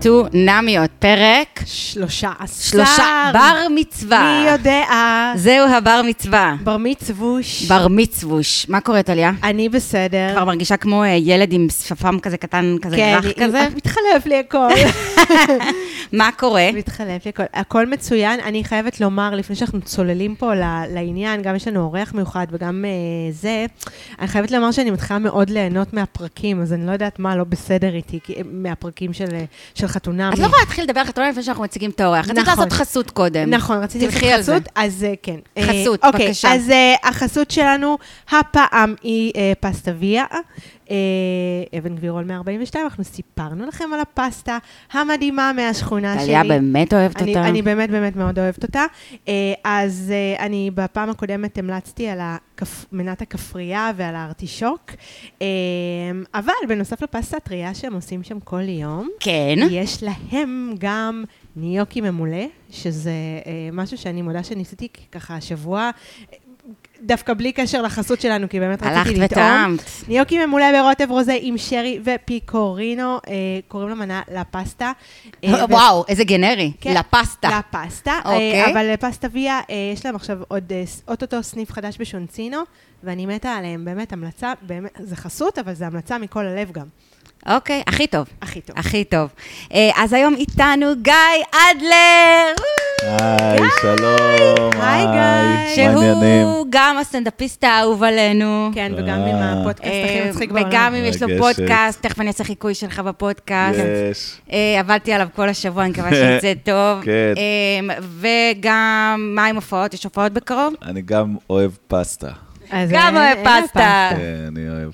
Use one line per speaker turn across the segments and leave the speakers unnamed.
חתונמיות, פרק
שלושה עשר.
שלושה, בר מצווה.
מי יודע?
זהו הבר מצווה.
בר מצווש.
בר מצווש. מה קורה, טליה?
אני בסדר. כן,
כבר מרגישה כמו אה, ילד עם שפם כזה קטן, כזה רך
היא-
כזה?
היא- מתחלף לי הכל.
מה קורה?
מתחלף לי הכל. הכל מצוין. אני חייבת לומר, לפני שאנחנו צוללים פה ל- לעניין, גם יש לנו אורח מיוחד וגם אה, זה, אני חייבת לומר שאני מתחילה מאוד ליהנות מהפרקים, אז אני לא יודעת מה לא בסדר איתי, כי- מהפרקים של אה, של חתונה.
את לא יכולה להתחיל לדבר על חתונה לפני שאנחנו מציגים את האורח. רצית
נכון.
לעשות חסות קודם.
נכון, רציתי לעשות
תלכי על זה.
חסות, אז אה, כן. אה,
חסות,
אוקיי,
בבקשה.
אז אה, החסות שלנו הפעם היא אה, פסטה ויה, אה, אבן גבירול 142, אנחנו סיפרנו לכם על הפסטה המדהימה מהשכונה שלי.
טליה באמת אוהבת
אני,
אותה.
אני באמת באמת מאוד אוהבת אותה. אה, אז אה, אני בפעם הקודמת המלצתי על הכפ... מנת הכפרייה ועל הארטישוק, אה, אבל בנוסף לפסטה הטריה שהם עושים שם כל יום,
כן.
יש להם גם ניוקי ממולא, שזה אה, משהו שאני מודה שניסיתי ככה השבוע, אה, דווקא בלי קשר לחסות שלנו, כי באמת
הלכת
רציתי לטעום.
וטעמת.
ניוקי ממולא ברוטב רוזה עם שרי ופיקורינו, אה, קוראים למנה לפסטה. אה, ו-
וואו, איזה גנרי.
כן.
לפסטה.
לפסטה,
אוקיי.
אה, אבל לפסטה ויה, אה, יש להם עכשיו עוד, אה, ס- אוטוטו סניף חדש בשונצינו, ואני מתה עליהם, באמת המלצה, באמת, זה חסות, אבל זה המלצה מכל הלב גם.
אוקיי, הכי טוב.
הכי טוב.
הכי טוב. אה, אז היום איתנו גיא אדלר,
היי, שלום,
היי, גיא.
מה העניינים?
שהוא גם הסטנדאפיסט האהוב עלינו.
כן, וגם
אה.
עם הפודקאסט הכי
אה,
מצחיק בעולם.
וגם אם יש לו
מרגשת.
פודקאסט, תכף אני אעשה חיקוי שלך בפודקאסט.
יש.
אה, עבדתי עליו כל השבוע, אני מקווה שיצא טוב.
כן.
אה, וגם, מה עם הופעות? יש הופעות בקרוב?
אני גם אוהב פסטה.
אז
גם
אין-
אוהב
אין לה
פסטה. אה.
כן, אני אוהב.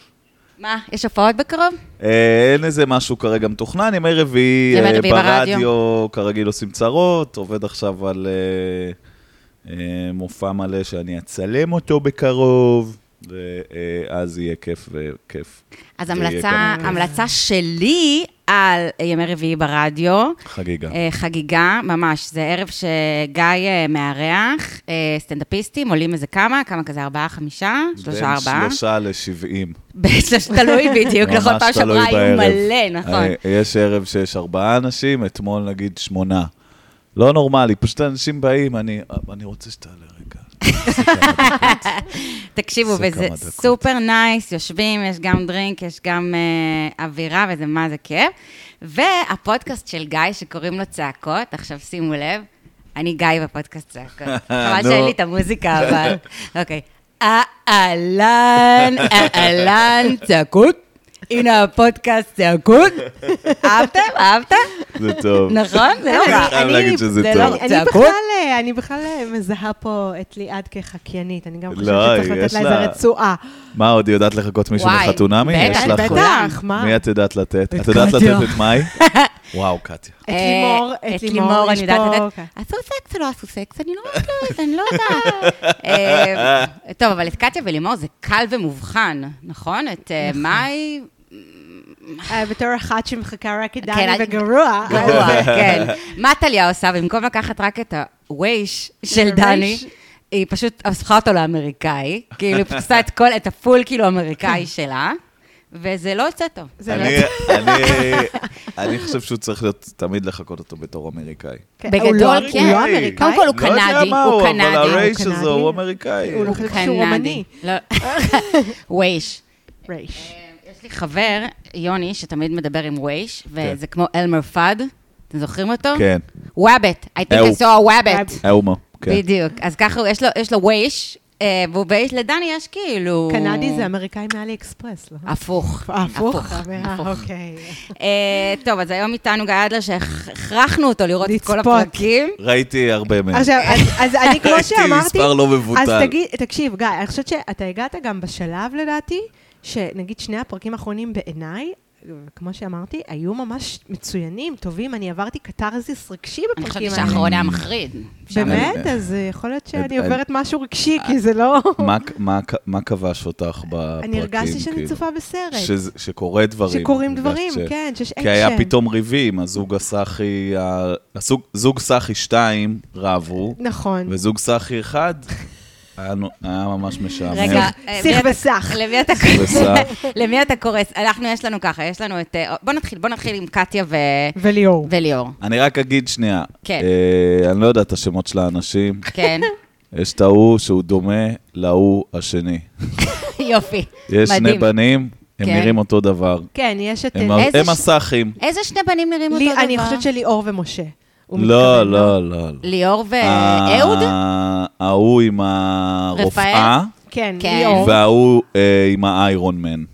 מה, יש הופעות בקרוב?
אה, אין איזה משהו כרגע מתוכנן, ימי רביעי
ימי
אה,
רביעי ברדיו.
ברדיו, כרגיל עושים צרות, עובד עכשיו על אה, אה, מופע מלא שאני אצלם אותו בקרוב, ואז יהיה כיף וכיף.
אז
תהיה
המלצה,
אה.
כאן.
המלצה שלי על ימי רביעי ברדיו.
חגיגה.
אה, חגיגה, ממש. זה ערב שגיא אה, מארח, אה, סטנדאפיסטים, עולים איזה כמה, כמה כזה, ארבעה, חמישה? שלושה, ארבעה?
בין שלושה לשבעים.
בשלוש... תלוי בדיוק,
ממש
נכון, פעם שעברה
תלוי
היו
בערב.
מלא, נכון.
אה, יש ערב שיש ארבעה אנשים, אתמול נגיד שמונה. לא נורמלי, פשוט אנשים באים, אני, אני רוצה שתעלה רגע.
תקשיבו,
זה
וזה
כמה דקות.
סופר נייס, יושבים, יש גם דרינק, יש גם אה, אווירה, וזה מה זה כיף. והפודקאסט של גיא, שקוראים לו צעקות, עכשיו שימו לב, אני גיא בפודקאסט צעקות. חבל
נו.
שאין לי את המוזיקה, אבל... אוקיי. אהלן, אהלן, צעקות. הנה הפודקאסט צעקות. אהבתם? אהבתם?
זה טוב.
נכון? זה לא רע.
אני חייב להגיד שזה
זה
טוב.
לא-
אני
צעקות?
בכלל, אה, אני בכלל אה, מזהה פה את ליעד כחקיינית, אני גם חושבת
לא,
שצריך לתת
יש
לה
לה-
איזה רצועה.
מה, עוד יודעת לחכות מישהו
וואי,
מחתונמי?
בטח,
יש לך...
בטח.
בטח, מה?
מי את יודעת לתת?
את
את יודעת
קטיה.
לתת את מאי? וואו, קטיה.
את לימור,
אה,
את לימור,
אני
יש
יודעת
פה...
לתת. עשו סקס או לא עשו סקס? אני לא יודעת, אני לא יודעת. אה, טוב, אבל את קטיה ולימור זה קל ומובחן, נכון? את אה, מאי...
אה, בתור אחת שמחכה רק את
כן,
דני
אני-
וגרוע. אה,
גרוע,
אז-
כן. מה טליה עושה? במקום לקחת רק את הווייש של דני,
הווייש.
היא פשוט הפכה אותו לאמריקאי, כאילו, היא פסה את כל, את הפול כאילו אמריקאי שלה, וזה לא יוצא טוב.
זה לא-
אני- אני- אני חושב שהוא צריך להיות, תמיד לחכות אותו בתור אמריקאי.
כן,
בגדול,
הוא לא-
כן.
הוא לא
אוקיי.
אמריקאי.
קודם כל, הוא
לא יודע
קנדי,
מה
הוא
הוא, אבל
קנדי, הוא
הרייש
קנדי.
הזה הוא אמריקאי.
הוא
הוא
לא
לא.
חושב שהוא
קנדי.
רומני.
לא- ווייש.
רייש.
אה, יש לי חבר, יוני, שתמיד מדבר עם וייש, וזה כמו אלמר פאד, אתם זוכרים אותו?
כן,
וואבט, I think
אהו.
I saw a וואבט.
וואב-
ההומו. כן.
בדיוק. אז ככה, הוא- יש לו- יש לו וייש, אה, והוא וייש לדני יש כאילו...
קנדי זה אמריקאי מאלי אקספרס, לא?
הפוך.
הפוך,
הפוך.
אמירה,
הפוך.
אוקיי.
כן.
אה, טוב, אז היום איתנו גיא אדלר, שהכרחנו אותו לראות את כל
לצפות.
הפרקים.
ראיתי הרבה מהם.
עכשיו, אז- אז אני, כמו
ראיתי
שאמרתי,
מספר לא מבוטל.
אז תגיד, תקשיב, גיא, אני חושבת שאתה הגעת גם בשלב, לדעתי, שנגיד שני הפרקים האחרונים בעיניי, כמו שאמרתי, היו ממש מצוינים, טובים, אני עברתי קתרזיס רגשי
אני
בפרקים
חושבת
האלה.
שהאחרון היה מחריד. שם-
באמת?
אני-
אז אה, יכול להיות שאני
אני-
עוברת משהו רגשי, כי זה לא...
אה, מה- מה- מה כבש אותך בפרקים?
אני הרגשתי שאני
כאילו?
צופה בסרט.
שזה- שקורה דברים.
שקורים
הרגשת
דברים, כן, שיש אקשן.
כי היה פתאום ריבים, הזוג הסאחי, ה- הזוג- זוג סאחי 2 רבו,
נכון.
וזוג סאחי 1 היה נו- היה ממש משעמם.
רגע, אה,
שיח
מי אתה-
וסח.
למי אתה
וסח.
קורס? למי אתה קורס? אנחנו, יש לנו ככה, יש לנו את... אה, בוא נתחיל, בוא נתחיל עם קטיה ו-
וליאור.
וליאור.
אני רק אגיד שנייה.
כן.
אה, אני לא יודע את השמות של האנשים.
כן,
יש את ההוא שהוא דומה להוא השני.
יופי.
יש שני
מדהים.
בנים, הם
כן.
נראים אותו דבר.
כן, יש את...
הם
אה,
איזה
הם
ש-
הסאחים.
איזה שני בנים נראים אותו
לי-
דבר?
אני חושבת שליאור ומשה. הוא
לא,
מתכוון,
לא, לא. לא.
ליאור
ה-
ואהוד?
ההוא עם הרופאה,
כן,
כן.
ליאור.
וההוא אה, עם האיירון מן.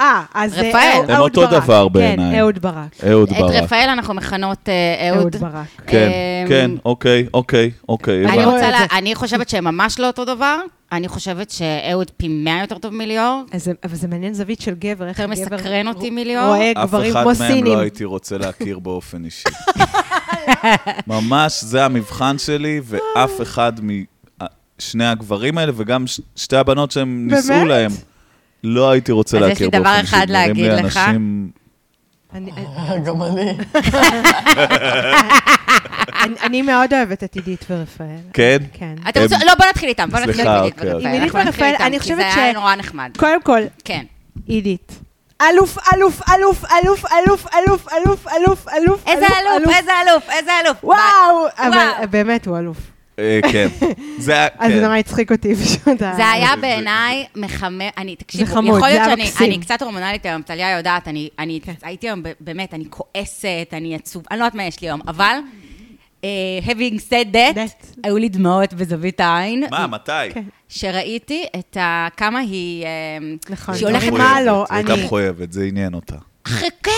אה, אז אה,
רפאל.
אהוד-
הם
אהוד
אותו
ברק.
דבר בעיניי.
כן, אהוד ברק.
אהוד
את
ברק.
רפאל אנחנו מכנות אה,
אהוד
אהוד.
ברק.
כן,
אמ,
כן, אוקיי, אוקיי, אוקיי.
אני
הבנתי.
רואה
רוצה
את
לה-
זה.
אני חושבת שהם ממש לא אותו דבר. אני חושבת שאהוד פי מאה יותר טוב מליאור.
אז זה- אבל זה מעניין זווית של גבר, איך
יותר
הגבר
מסקרן אותי
רוא-
מליאור.
רואה
אף
גברים
אחד
כמו
מהם
סינים.
לא הייתי רוצה להכיר באופן אישי. ממש, זה המבחן שלי, ואף אחד משני הגברים האלה, וגם ש- שתי הבנות שהם נישאו
באמת?
להם, לא הייתי רוצה
אז יש
להכיר
לי דבר
באופן אישי.
אחד
נראים לי
להגיד לך.
אנשים-
אני-
גם אני.
אני- אני מאוד אוהבת את עידית ורפאל.
כן?
כן.
אתם רוצים,
הם-
לא, בוא נתחיל איתם, בוא נתחיל
סליחה,
עם
אוקיי,
עידית
אוקיי.
ורפאל.
עם עידית
אנחנו נתחיל
ורפאל,
איתם,
אני
כי
חושבת
זה היה
ש-
נורא נחמד.
קודם כל,
כן.
עידית. אלוף, אלוף, אלוף, אלוף, אלוף, אלוף, אלוף, אלוף, אלוף,
איזה אלוף, איזה אלוף, איזה אלוף.
וואו!
וואו.
אבל באמת הוא אלוף.
אה, כן. זה היה,
אז זה
כן.
נורא הצחיק אותי פשוט. ה-
זה היה בעיניי מחמם, אני, תקשיבו,
חמוד,
יכול
אה, זה
להיות
היה
שאני
מקסים. כן.
אני קצת הורמונלית היום, טליה יודעת, אני, אני הייתי היום, ב- באמת, אני כועסת, אני עצוב, אני לא יודעת מה יש לי היום, אבל, uh, having said that,
That.
היו לי דמעות בזווית העין,
מה, מתי?
כן.
שראיתי את ה... כמה היא... אה,
נכון.
שהיא
היא
הולכת...
מחויבת,
מה לא,
היא הייתה
אני-
מחויבת, זה עניין אותה.
אחרי, כן,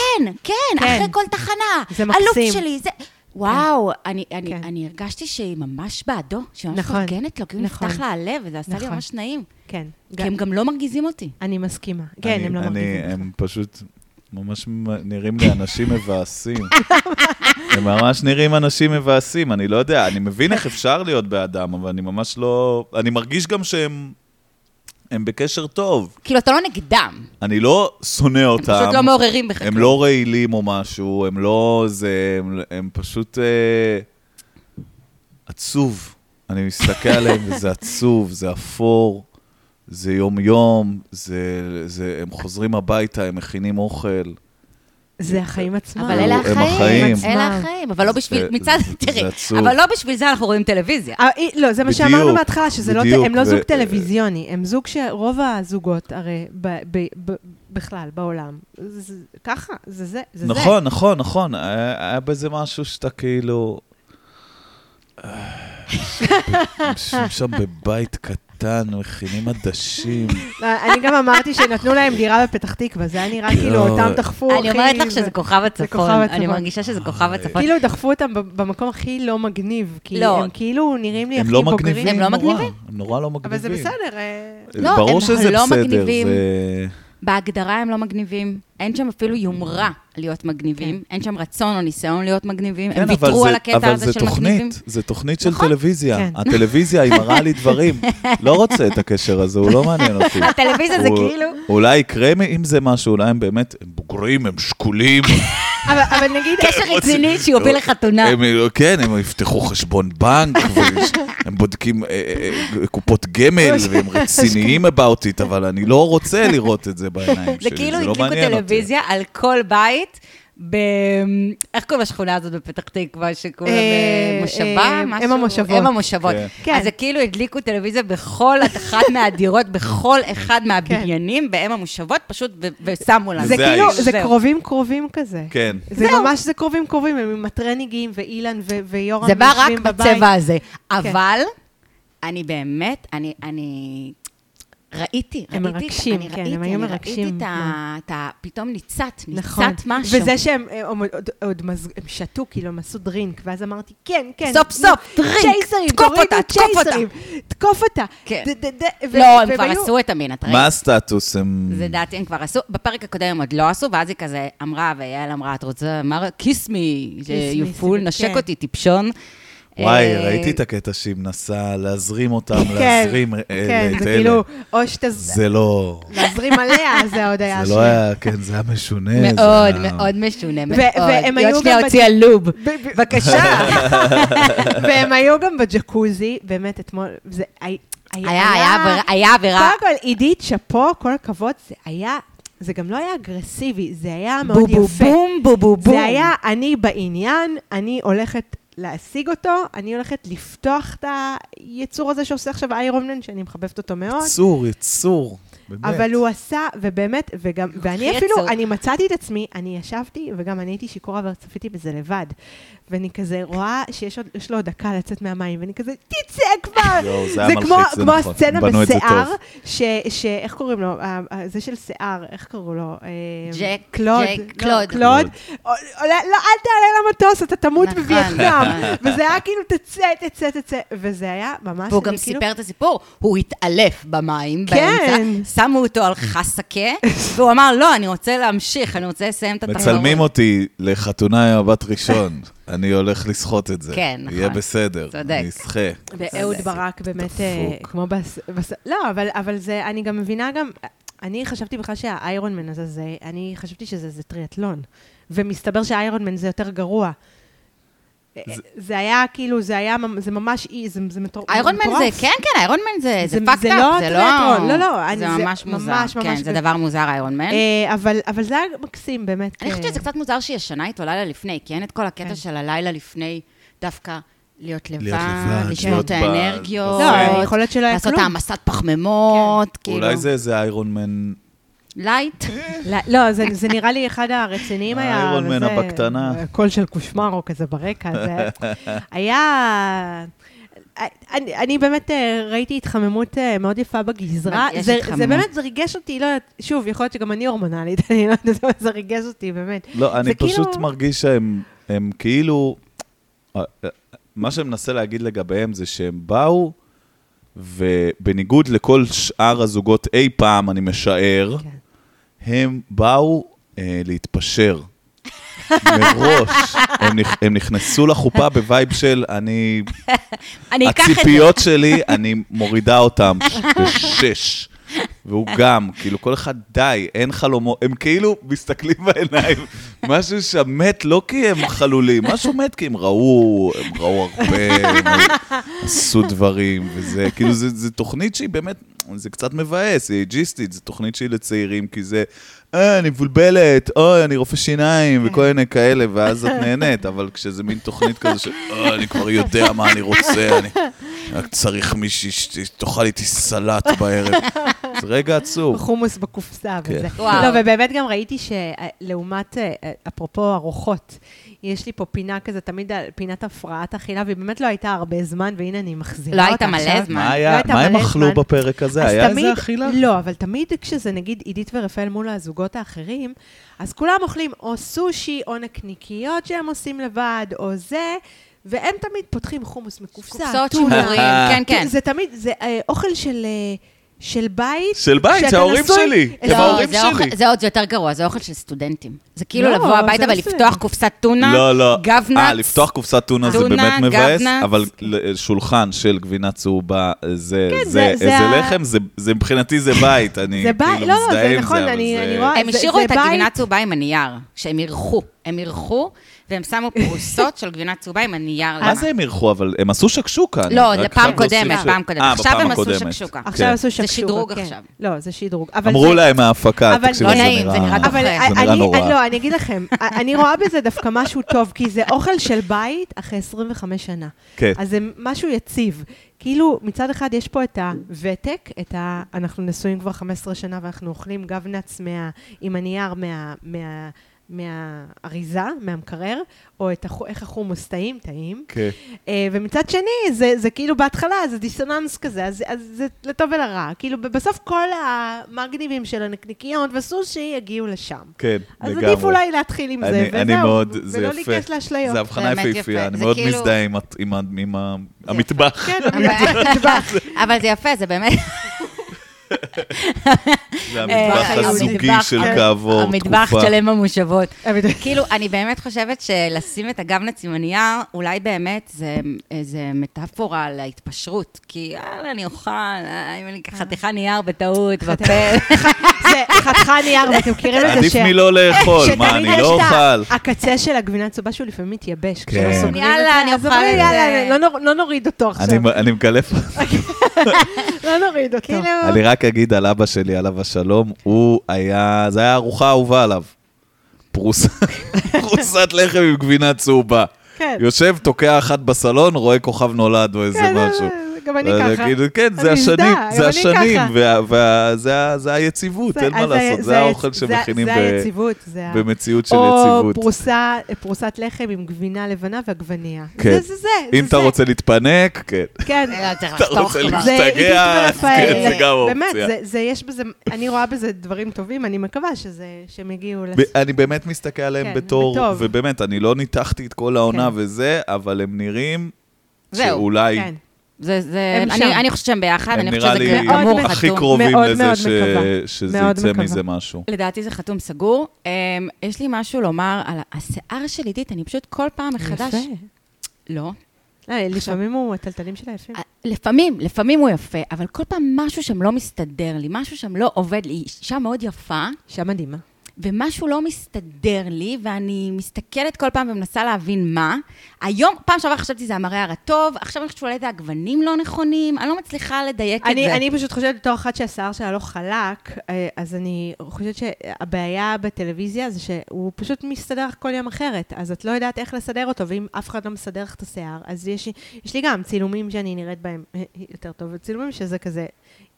כן,
כן.
אחרי כל תחנה.
זה מקסים.
אלוף שלי, זה... וואו, אני, אני,
כן.
אני הרגשתי שהיא ממש בעדו, שהיא ממש
נכון,
מפרגנת לו, כאילו
נכון.
נפתח לה הלב, וזה עשה לי
נכון.
ממש נעים.
כן.
כי הם גם לא מרגיזים אותי.
אני מסכימה. כן,
אני-
הם לא
אני-
מרגיזים אותך.
הם פשוט ממש מ- נראים לי אנשים מבאסים. הם ממש נראים אנשים מבאסים, אני לא יודע, אני מבין איך אפשר להיות באדם, אבל אני ממש לא... אני מרגיש גם שהם הם בקשר טוב.
כאילו, אתה לא נגדם.
אני לא שונא אותם.
פשוט לא מעוררים בך.
הם לא רעילים או משהו, הם לא זה, הם, הם פשוט אה, עצוב. אני מסתכל עליהם וזה עצוב, זה אפור, זה יום-יום, זה, זה, הם חוזרים הביתה, הם מכינים אוכל.
זה החיים עצמם.
אבל אלה
הם
החיים,
החיים.
אלה
עצמם.
החיים, אבל לא בשביל,
זה-
מצד,
זה-
תראי,
זה עצוב.
אבל לא בשביל זה אנחנו רואים טלוויזיה.
אה, אי- לא, זה מה
בדיוק,
שאמרנו מההתחלה, שזה לא,
בדיוק,
הם לא
ו-
זוג טלוויזיוני, הם זוג שרוב הזוגות הרי ב, ב, ב, בכלל, בעולם, זה, ככה, זה זה, זה
נכון, נכון, נכון, היה היה בזה משהו שאתה כאילו... אה, יושבים שם בבית קטן, מכינים עדשים.
זה. אה, אני גם אמרתי שנתנו להם דירה בפתח תקווה, זה היה נראה כאילו
לא.
אותם דחפו,
אני אומרת לך
זה-
שזה כוכב הצפון,
כוכב
אני
הצפון.
מרגישה שזה כוכב הצפון.
כאילו דחפו אותם ב- במקום הכי לא מגניב, כי
לא.
הם כאילו נראים לי
הם
הכי
לא
בוגרים.
מגניבים.
הם לא
נורא,
מגניבים?
הם נורא לא מגניבים.
אבל זה בסדר, אה,
לא,
ברור
הם
שזה
לא
בסדר,
מגניבים.
זה...
בהגדרה הם לא מגניבים, אין שם אפילו יומרה להיות מגניבים, אין שם רצון או ניסיון להיות מגניבים, הם
כן, אבל
ויתרו
זה-
על הקטע
אבל
הזה
זה
של
תוכנית,
מגניבים.
זה תוכנית של
נכון.
טלוויזיה.
כן.
הטלוויזיה היא מראה לי דברים. לא רוצה את הקשר הזה, הוא לא מעניין אותי.
הטלוויזיה זה
הוא-
כאילו...
אולי יקרה עם זה משהו, אולי הם באמת, הם בוגרים, הם שקולים.
אבל אבל נגיד,
קשר רציני שיוביל לחתונה.
הם, כן, הם יפתחו חשבון בנק, והם בודקים אה, אה, אה, קופות גמל, והם רציניים about it, אבל אני לא רוצה לראות את זה בעיניים
זה
שלי,
כאילו
זה לא
הדליקו
מעניין אותי.
טלוויזיה על כל בית. ב... איך קוראים לשכונה הזאת בפתח תקווה, שקוראים
אה,
במושבה?
אה,
משהו?
אם המושבות.
אם המושבות.
כן.
כן.
אז זה כאילו הדליקו טלוויזיה בכל אחת מהדירות, בכל
כן.
אחד מהבניינים באם המושבות, פשוט ו- ושמו לנו.
כן. זה
זה
כאילו,
האיש.
זה
זהו.
קרובים קרובים כזה.
כן.
זה ממש, זה קרובים קרובים, הם עם הטרניגים ואילן ו- ויורם
זה בא רק
יושבים בבית. כן.
בצבע הזה. אבל אני באמת, אני... אני... ראיתי,
הם
ראיתי,
מרגשים,
אני
כן,
ראיתי,
הם היו
אני
מרגשים, כן.
ראיתי את ה... את ה... פתאום ניצת,
נכון.
ניצת משהו.
וזה שהם אה, עוד, עוד, עוד מז... הם שתו, כאילו, הם עשו דרינק, ואז אמרתי, כן, כן.
סוף, סוף,
נו,
דרינק,
צ'ייסרים,
תקוף
תורידו
אותה, תקוף אותה."
צ'ייסרים, תקוף אותה.
כן.
ד- ד- ד- ו-
לא, הם
והם
כבר
היו-
עשו את המין, את ראית?
מה הסטטוס? הם...
זה דעתי, הם כבר עשו, בפרק הקודם הם עוד לא עשו, ואז היא כזה אמרה, ויעל אמרה, את רוצה, אמר, כיס מי,
me,
you fool,
כן.
נשק אותי, טיפשון.
וואי,
אה,
ראיתי את הקטע שהיא מנסה להזרים אותם,
כן,
להזרים אלה
כן,
את
זה
אלה.
כאילו, או שתזרים
זה לא...
עליה, זה עוד היה
זה לא היה, כן, זה היה משונה. זה
מאוד,
היה-
מאוד משונה, מאוד.
והם
היא עוד
היו
שנייה
גם
הוציאה לוב.
ב- ב-
בבקשה.
והם היו גם בג'קוזי, באמת, אתמול, זה הי-
היה, היה עבירה- היה עבירה.
קודם כל, עידית, שאפו, כל הכבוד, זה היה, זה גם לא היה אגרסיבי, זה היה
בו
מאוד
בו
יפה.
בום, בו בו בום.
זה היה, אני בעניין, אני הולכת להשיג אותו, אני הולכת לפתוח את היצור הזה שעושה עכשיו איירון מן, שאני מחבבת אותו מאוד.
יצור, יצור. באמת.
אבל הוא עשה, ובאמת, וגם, ואני
הכי
אפילו,
עצוב.
אני מצאתי את עצמי, אני ישבתי, וגם אני הייתי שיכורה וצפיתי בזה לבד. ואני כזה רואה שיש עוד, יש לו עוד דקה לצאת מהמים, ואני כזה, תצא כבר!
יואו, זה
זה
היה מלחיץ,
כמו,
זה
כמו
נכון.
הסצנה
בנו את זה
בשיער,
טוב.
ש, ש... איך קוראים לו? ה- ה- זה של שיער, איך קראו לו? אה,
ג'ק,
קלוד.
ג'ק,
לא,
קלוד.
קלוד. עולה- לא, אל תעלה למטוס, אתה תמות
נכון,
בווייטנאם.
נכון.
וזה היה כאילו, תצא, תצא, תצא. וזה היה ממש...
והוא
אני
גם
כאילו-
סיפר את הסיפור, הוא התעלף במים
כן.
באמצע, שמו אותו על חסקה, והוא אמר, לא, אני רוצה להמשיך, אני רוצה לסיים את התחרות.
מצלמים אותי לחתונה עם הבת ראשון. אני הולך לסחוט את זה.
כן,
יהיה
נכון.
בסדר.
צודק.
אני אסחה.
ואהוד
צודק.
ברק באמת, אה,
דפוק.
כמו בס... בס... לא, אבל, אבל זה, אני גם מבינה גם, אני חשבתי בכלל שהאיירון מן הזה, זה, אני חשבתי שזה זה טריאטלון. ומסתבר שהאיירון מן זה יותר גרוע. זה, זה היה כאילו, זה היה, ממ- זה ממש אי, זה, זה מטור- מטורף.
איירון מן זה, כן, כן, איירון מן זה, זה
זה-
פאקד
זה
אפ,
לא
זה
טריאטרון, לא, לא, אני-
זה
זה
ממש מוזר,
ממש,
כן,
ממש
זה
כזה.
דבר מוזר, איירון מן.
אה, אבל, אבל זה היה מקסים, באמת.
אני
אה,
חושבת שזה קצת מוזר שהיא ישנה איתו לילה לפני, כי אין את כל
כן.
הקטע של הלילה לפני דווקא להיות לבד,
לבד,
לשמור את
להיות ב-
האנרגיות,
לא, יכול להיות שלא היה
לעשות
כלום.
העמסת פחמימות, כאילו.
כן. אולי זה איזה איירון מן,
לייט.
לא, לא, זה, זה נראה לי אחד הרציניים היה.
האיירון מן
וזה-
הבקטנה.
קול של קושמרו כזה ברקע, זה היה... אה, אני, אני באמת אה, ראיתי התחממות אה, מאוד יפה בגזרה.
יש
זה,
התחממות.
זה באמת, זה ריגש אותי, לא יודעת, שוב, יכול להיות שגם אני הורמונלית, אני לא יודעת, אבל זה ריגש אותי, באמת.
לא, אני
זה כאילו-
פשוט מרגיש שהם הם כאילו... אה, מה שאני מנסה להגיד לגביהם זה שהם באו, ובניגוד לכל שאר הזוגות אי פעם, אני משער,
כן.
הם באו אה, להתפשר. מראש. הם, נכ- הם נכנסו לחופה בווייב של אני...
אני אקח את זה.
הציפיות שלי, אני מורידה אותן בשש. והוא גם, כאילו, כל אחד, די, אין חלומות, הם כאילו מסתכלים בעיניים. משהו שם מת לא כי הם חלולים, משהו מת כי הם ראו, הם ראו הרבה, הם עשו דברים, וזה, כאילו, זו תוכנית שהיא באמת, זה קצת מבאס, היא אייג'יסטית, זו תוכנית שהיא לצעירים, כי זה, אה, אני מבולבלת, אוי, אני רופא שיניים, וכל מיני כאלה, ואז את נהנית, אבל כשזה מין תוכנית כזו של, אה, אני כבר יודע מה אני רוצה, אני רק צריך מישהי שתאכל איתי סלט בערב. זה רגע עצוב.
חומוס בקופסה
כן.
וזה.
וואו.
לא, ובאמת גם ראיתי אה, שלעומת, אה, אפרופו ארוחות, יש לי פה פינה כזה, תמיד על- פינת הפרעת אכילה, והיא באמת לא הייתה הרבה זמן, והנה אני מחזירה
לא
אותה
הייתה מלא
עכשיו.
זמן.
מה
לא
היה,
הייתה
מה הם
מלא
אכלו
זמן.
בפרק הזה?
אז
היה
תמיד-
איזה אכילה?
לא, אבל תמיד כשזה נגיד עידית ורפאל מול הזוגות האחרים, אז כולם אוכלים או סושי, או נקניקיות שהם עושים לבד, או זה, והם תמיד פותחים חומוס מקופסה,
קופסאות
טונה.
שימורים,
אה,
כן, כן.
זה תמיד, זה אה, אוכל של... אה, של בית.
של בית,
שאתה
שההורים
נשוי-
שלי, הם
לא,
ההורים
זה
שלי.
אוכל- זה עוד יותר גרוע, זה אוכל של סטודנטים. זה כאילו
לא,
לבוא הביתה
זה
ולפתוח
בסדר.
קופסת טונה,
לא, לא.
גבנץ.
אה, לפתוח קופסת טונה זה
טונה,
באמת מבאס,
גבנץ.
אבל ל- אה, שולחן של גבינה צהובה, אה, זה
כן,
זה-
זה- זה
זה
ה-
לחם, זה- זה מבחינתי זה בית, אני
זה בית,
כאילו
לא, לא, זה
מזדהה עם
נכון,
זה, אבל
אני-
זה-
אני רואה-
הם
זה-
השאירו
זה
את הגבינה
בית-
צהובה עם הנייר, שהם אירחו. הם אירחו, והם שמו פרוסות של גבינה צהובה עם הנייר.
מה
למטה.
אה, זה הם אירחו? אבל הם עשו שקשוקה. אני
לא,
רק
לפעם
חייב להוסיף
קודמת,
ש-
פעם קודמת.
אה,
עכשיו
בפעם
הם עשו
הקודמת.
שקשוקה.
עכשיו
כן.
עשו שקשוקה.
שדרוג
כן.
עכשיו.
לא, זה שדרוג. אבל
אמרו
זה-
להם מההפקה,
אבל-
תקשיבו,
לא
זה
נעים, זה נראה
נראה...
דוחה.
אבל
זה
נראה
אני,
נורא.
אני- לא, אני אגיד לכם, אני רואה בזה דווקא משהו טוב, כי זה אוכל של בית אחרי 25 שנה.
כן.
אז זה משהו יציב. כאילו, מצד אחד יש פה את הוותק, את ה... אנחנו נשואים כבר 15 שנה ואנחנו אוכלים גבנץ מה... עם הנייר מה... מה... מהאריזה, מהמקרר, או את הח... איך החומוס טעים, טעים.
כן.
אה, ומצד שני, זה, זה כאילו בהתחלה, זה דיסוננס כזה, אז, אז זה לטוב ולרע. כאילו, ב- בסוף כל המגניבים של הנקניקיות וסושי יגיעו לשם.
כן,
אז
לגמרי.
עדיף אולי להתחיל עם זה,
אני-
וזהו.
אני מאוד, זה
ולא
יפה.
להיכנס לאשליות.
זה הבחנה
באמת יפה.
יפהפייה, אני
זה
מאוד
כאילו-
מזדהה עם הת- עם ה- עם ה- המטבח.
כן,
אבל- אבל זה יפה, זה באמת...
זה המטבח
אה,
הזוגי
המטבח-
של כעבור תקופה.
המטבח של אם המושבות.
אבל-
כאילו, אני באמת חושבת שלשים את הגבנץ עם הנייר, אולי באמת זה איזה מטאפורה להתפשרות. כי יאללה, אני אוכל, אה, אם אני אקח חתיכה נייר בטעות, בפה.
זה חתיכה נייר, ואתם מכירים את זה
עדיף מלא לאכול, מה,
שתמיד
אני
יש
לא
את
אוכל?
ה- הקצה של הגבינה הצהובה שהוא לפעמים מתייבש,
כן.
כשלא סוגרים את זה.
יאללה, אני
אז
אוכל
אומרים,
את
יאללה,
זה.
לא נור- לא נוריד אותו עכשיו,
אני- אני מקלף
לא נוריד אותו.
כאילו,
אני רק אגיד על אבא שלי, עליו השלום, הוא היה, זה היה הארוחה האהובה עליו. פרוס- פרוסת לחם עם גבינה צהובה.
כן.
יושב, תוקע אחת בסלון, רואה כוכב נולד או איזה
כן, זה-
משהו.
זה- גם אני
ואז
ככה.
כאילו, כן, זה
אה. אני מזדהה,
השנים,
גם אני
זה השנים,
ככה.
וה- וה- זה ה- זה היציבות, אין כן, מה
אז
לעשות, זה
ה-
האוכל
זה-
שמכינים ב-
זה היציבות, זה ה-
במציאות של
או
יציבות.
פרוסה- פרוסת לחם עם גבינה לבנה ועגבנייה.
כן.
זה זה זה.
אם
זה
אתה
זה.
רוצה להתפנק, כן.
כן.
לא, צריך
אתה
לחתוך
רוצה
כבר.
זה עידית
להשתגע, אז
ורפאל.
כן, זה גם
באמת,
אופציה.
זה- זה יש בזה, אני רואה בזה דברים טובים, אני מקווה שזה, שהם יגיעו לס...
ב- אני באמת מסתכל עליהם
כן,
בתור,
בטוב.
ובאמת, אני לא ניתחתי את כל העונה
כן.
וזה, אבל הם נראים
זהו.
שאולי,
כן.
זה, זה,
הם
אני,
שם.
אני חושבת שהם ביחד,
הם
אני
נראה
חושבת שזה
לי
מאוד
גמור
הכי
חתום.
קרובים
מאוד
לזה
מאוד
ש-
מקווה.
שזה
מאוד
יצא
מקווה.
מזה משהו.
לדעתי זה חתום סגור. אמ, יש לי משהו לומר על השיער של עידית, אני פשוט כל פעם מחדש...
יפה.
לא.
לא, לפעמים הוא, הטלטלים שלה יפים.
אה,
לפעמים, לפעמים הוא יפה, אבל כל פעם משהו שם לא מסתדר לי, משהו שם לא עובד לי. היא אישה מאוד יפה,
אישה מדהימה.
ומשהו לא מסתדר לי, ואני מסתכלת כל פעם ומנסה להבין מה. היום, פעם שעברה חשבתי זה המראה הרטוב, עכשיו אני חושבת שאולי זה הגוונים לא נכונים, אני לא מצליחה לדייק את
אני,
זה.
אני פשוט חושבת בתור אחת שהשיער שלה לא חלק, אה, אז אני חושבת שהבעיה בטלוויזיה זה שהוא פשוט מסתדר לך כל יום אחרת, אז את לא יודעת איך לסדר אותו, ואם אף אחד לא מסדר לך את השיער, אז יש, לי- יש לי גם צילומים שאני נראית בהם אה, יותר טוב, וצילומים שזה כזה,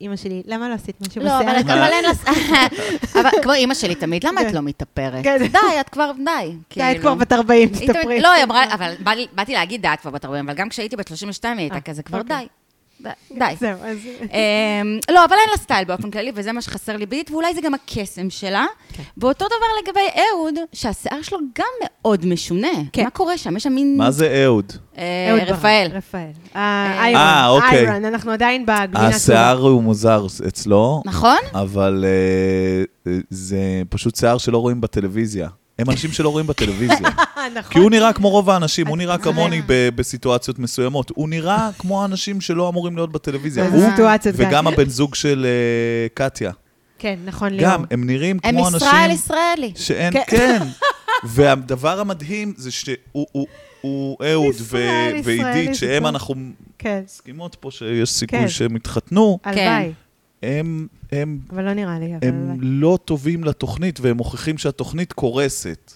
אימא שלי, למה לא עשית משהו
לא, אבל
בשיער?
את- אבל אין לה... אבל כמו אימא שלי תמיד, למה את לא מתאפרת?
כן.
די, את כבר, די.
די, את
כאילו.
כן.
כבר בת 40,
היא תמיד-
תסתפרי.
לא, היא אמרה, אבל בא לי- באתי להגיד די, את כבר בת 40, אבל גם כשהייתי בת 32 היא
אה,
הייתה כזה, כבר
אוקיי.
די. די. די.
זהו, אז...
אמ, לא, אבל אין לה סטייל באופן כללי, וזה מה שחסר לי בדיוק, ואולי זה גם הקסם שלה.
כן.
ואותו דבר לגבי אהוד, שהשיער שלו גם מאוד משונה.
כן.
מה קורה שם? יש שם מין...
מה זה אהוד?
אה,
אהוד ברק,
רפאל.
רפאל.
אה,
אה,
איירון,
אוקיי.
איירון, אנחנו עדיין בגבינה
השיער הוא מוזר אצלו,
נכון?
אבל אה, אה, זה פשוט שיער שלא רואים בטלוויזיה. הם אנשים שלא רואים בטלוויזיה.
צהובה. נכון.
כי הוא נראה כמו רוב האנשים, הוא נראה
אה.
כמוני ב- בסיטואציות מסוימות. הוא נראה כמו האנשים שלא אמורים להיות בטלוויזיה.
באיזה
הוא
סיטואציות, כן.
וגם הבן זוג של אה, קטיה.
כן, נכון, ליאור.
גם, הם נראים
הם
כמו
ישראל
אנשים
ישראלי.
שאין,
כן.
כן. והדבר המדהים זה שהוא הוא- הוא אהוד ו-
ישראל, ישראל,
ועידית, שהם,
ישראל.
אנחנו
כן,
מסכימות פה שיש
כן.
סיכוי שהם יתחתנו,
כן.
הלוואי.
הם הם
אבל לא נראה לי, אבל
הם
הלוואי.
לא טובים לתוכנית, והם מוכיחים שהתוכנית קורסת.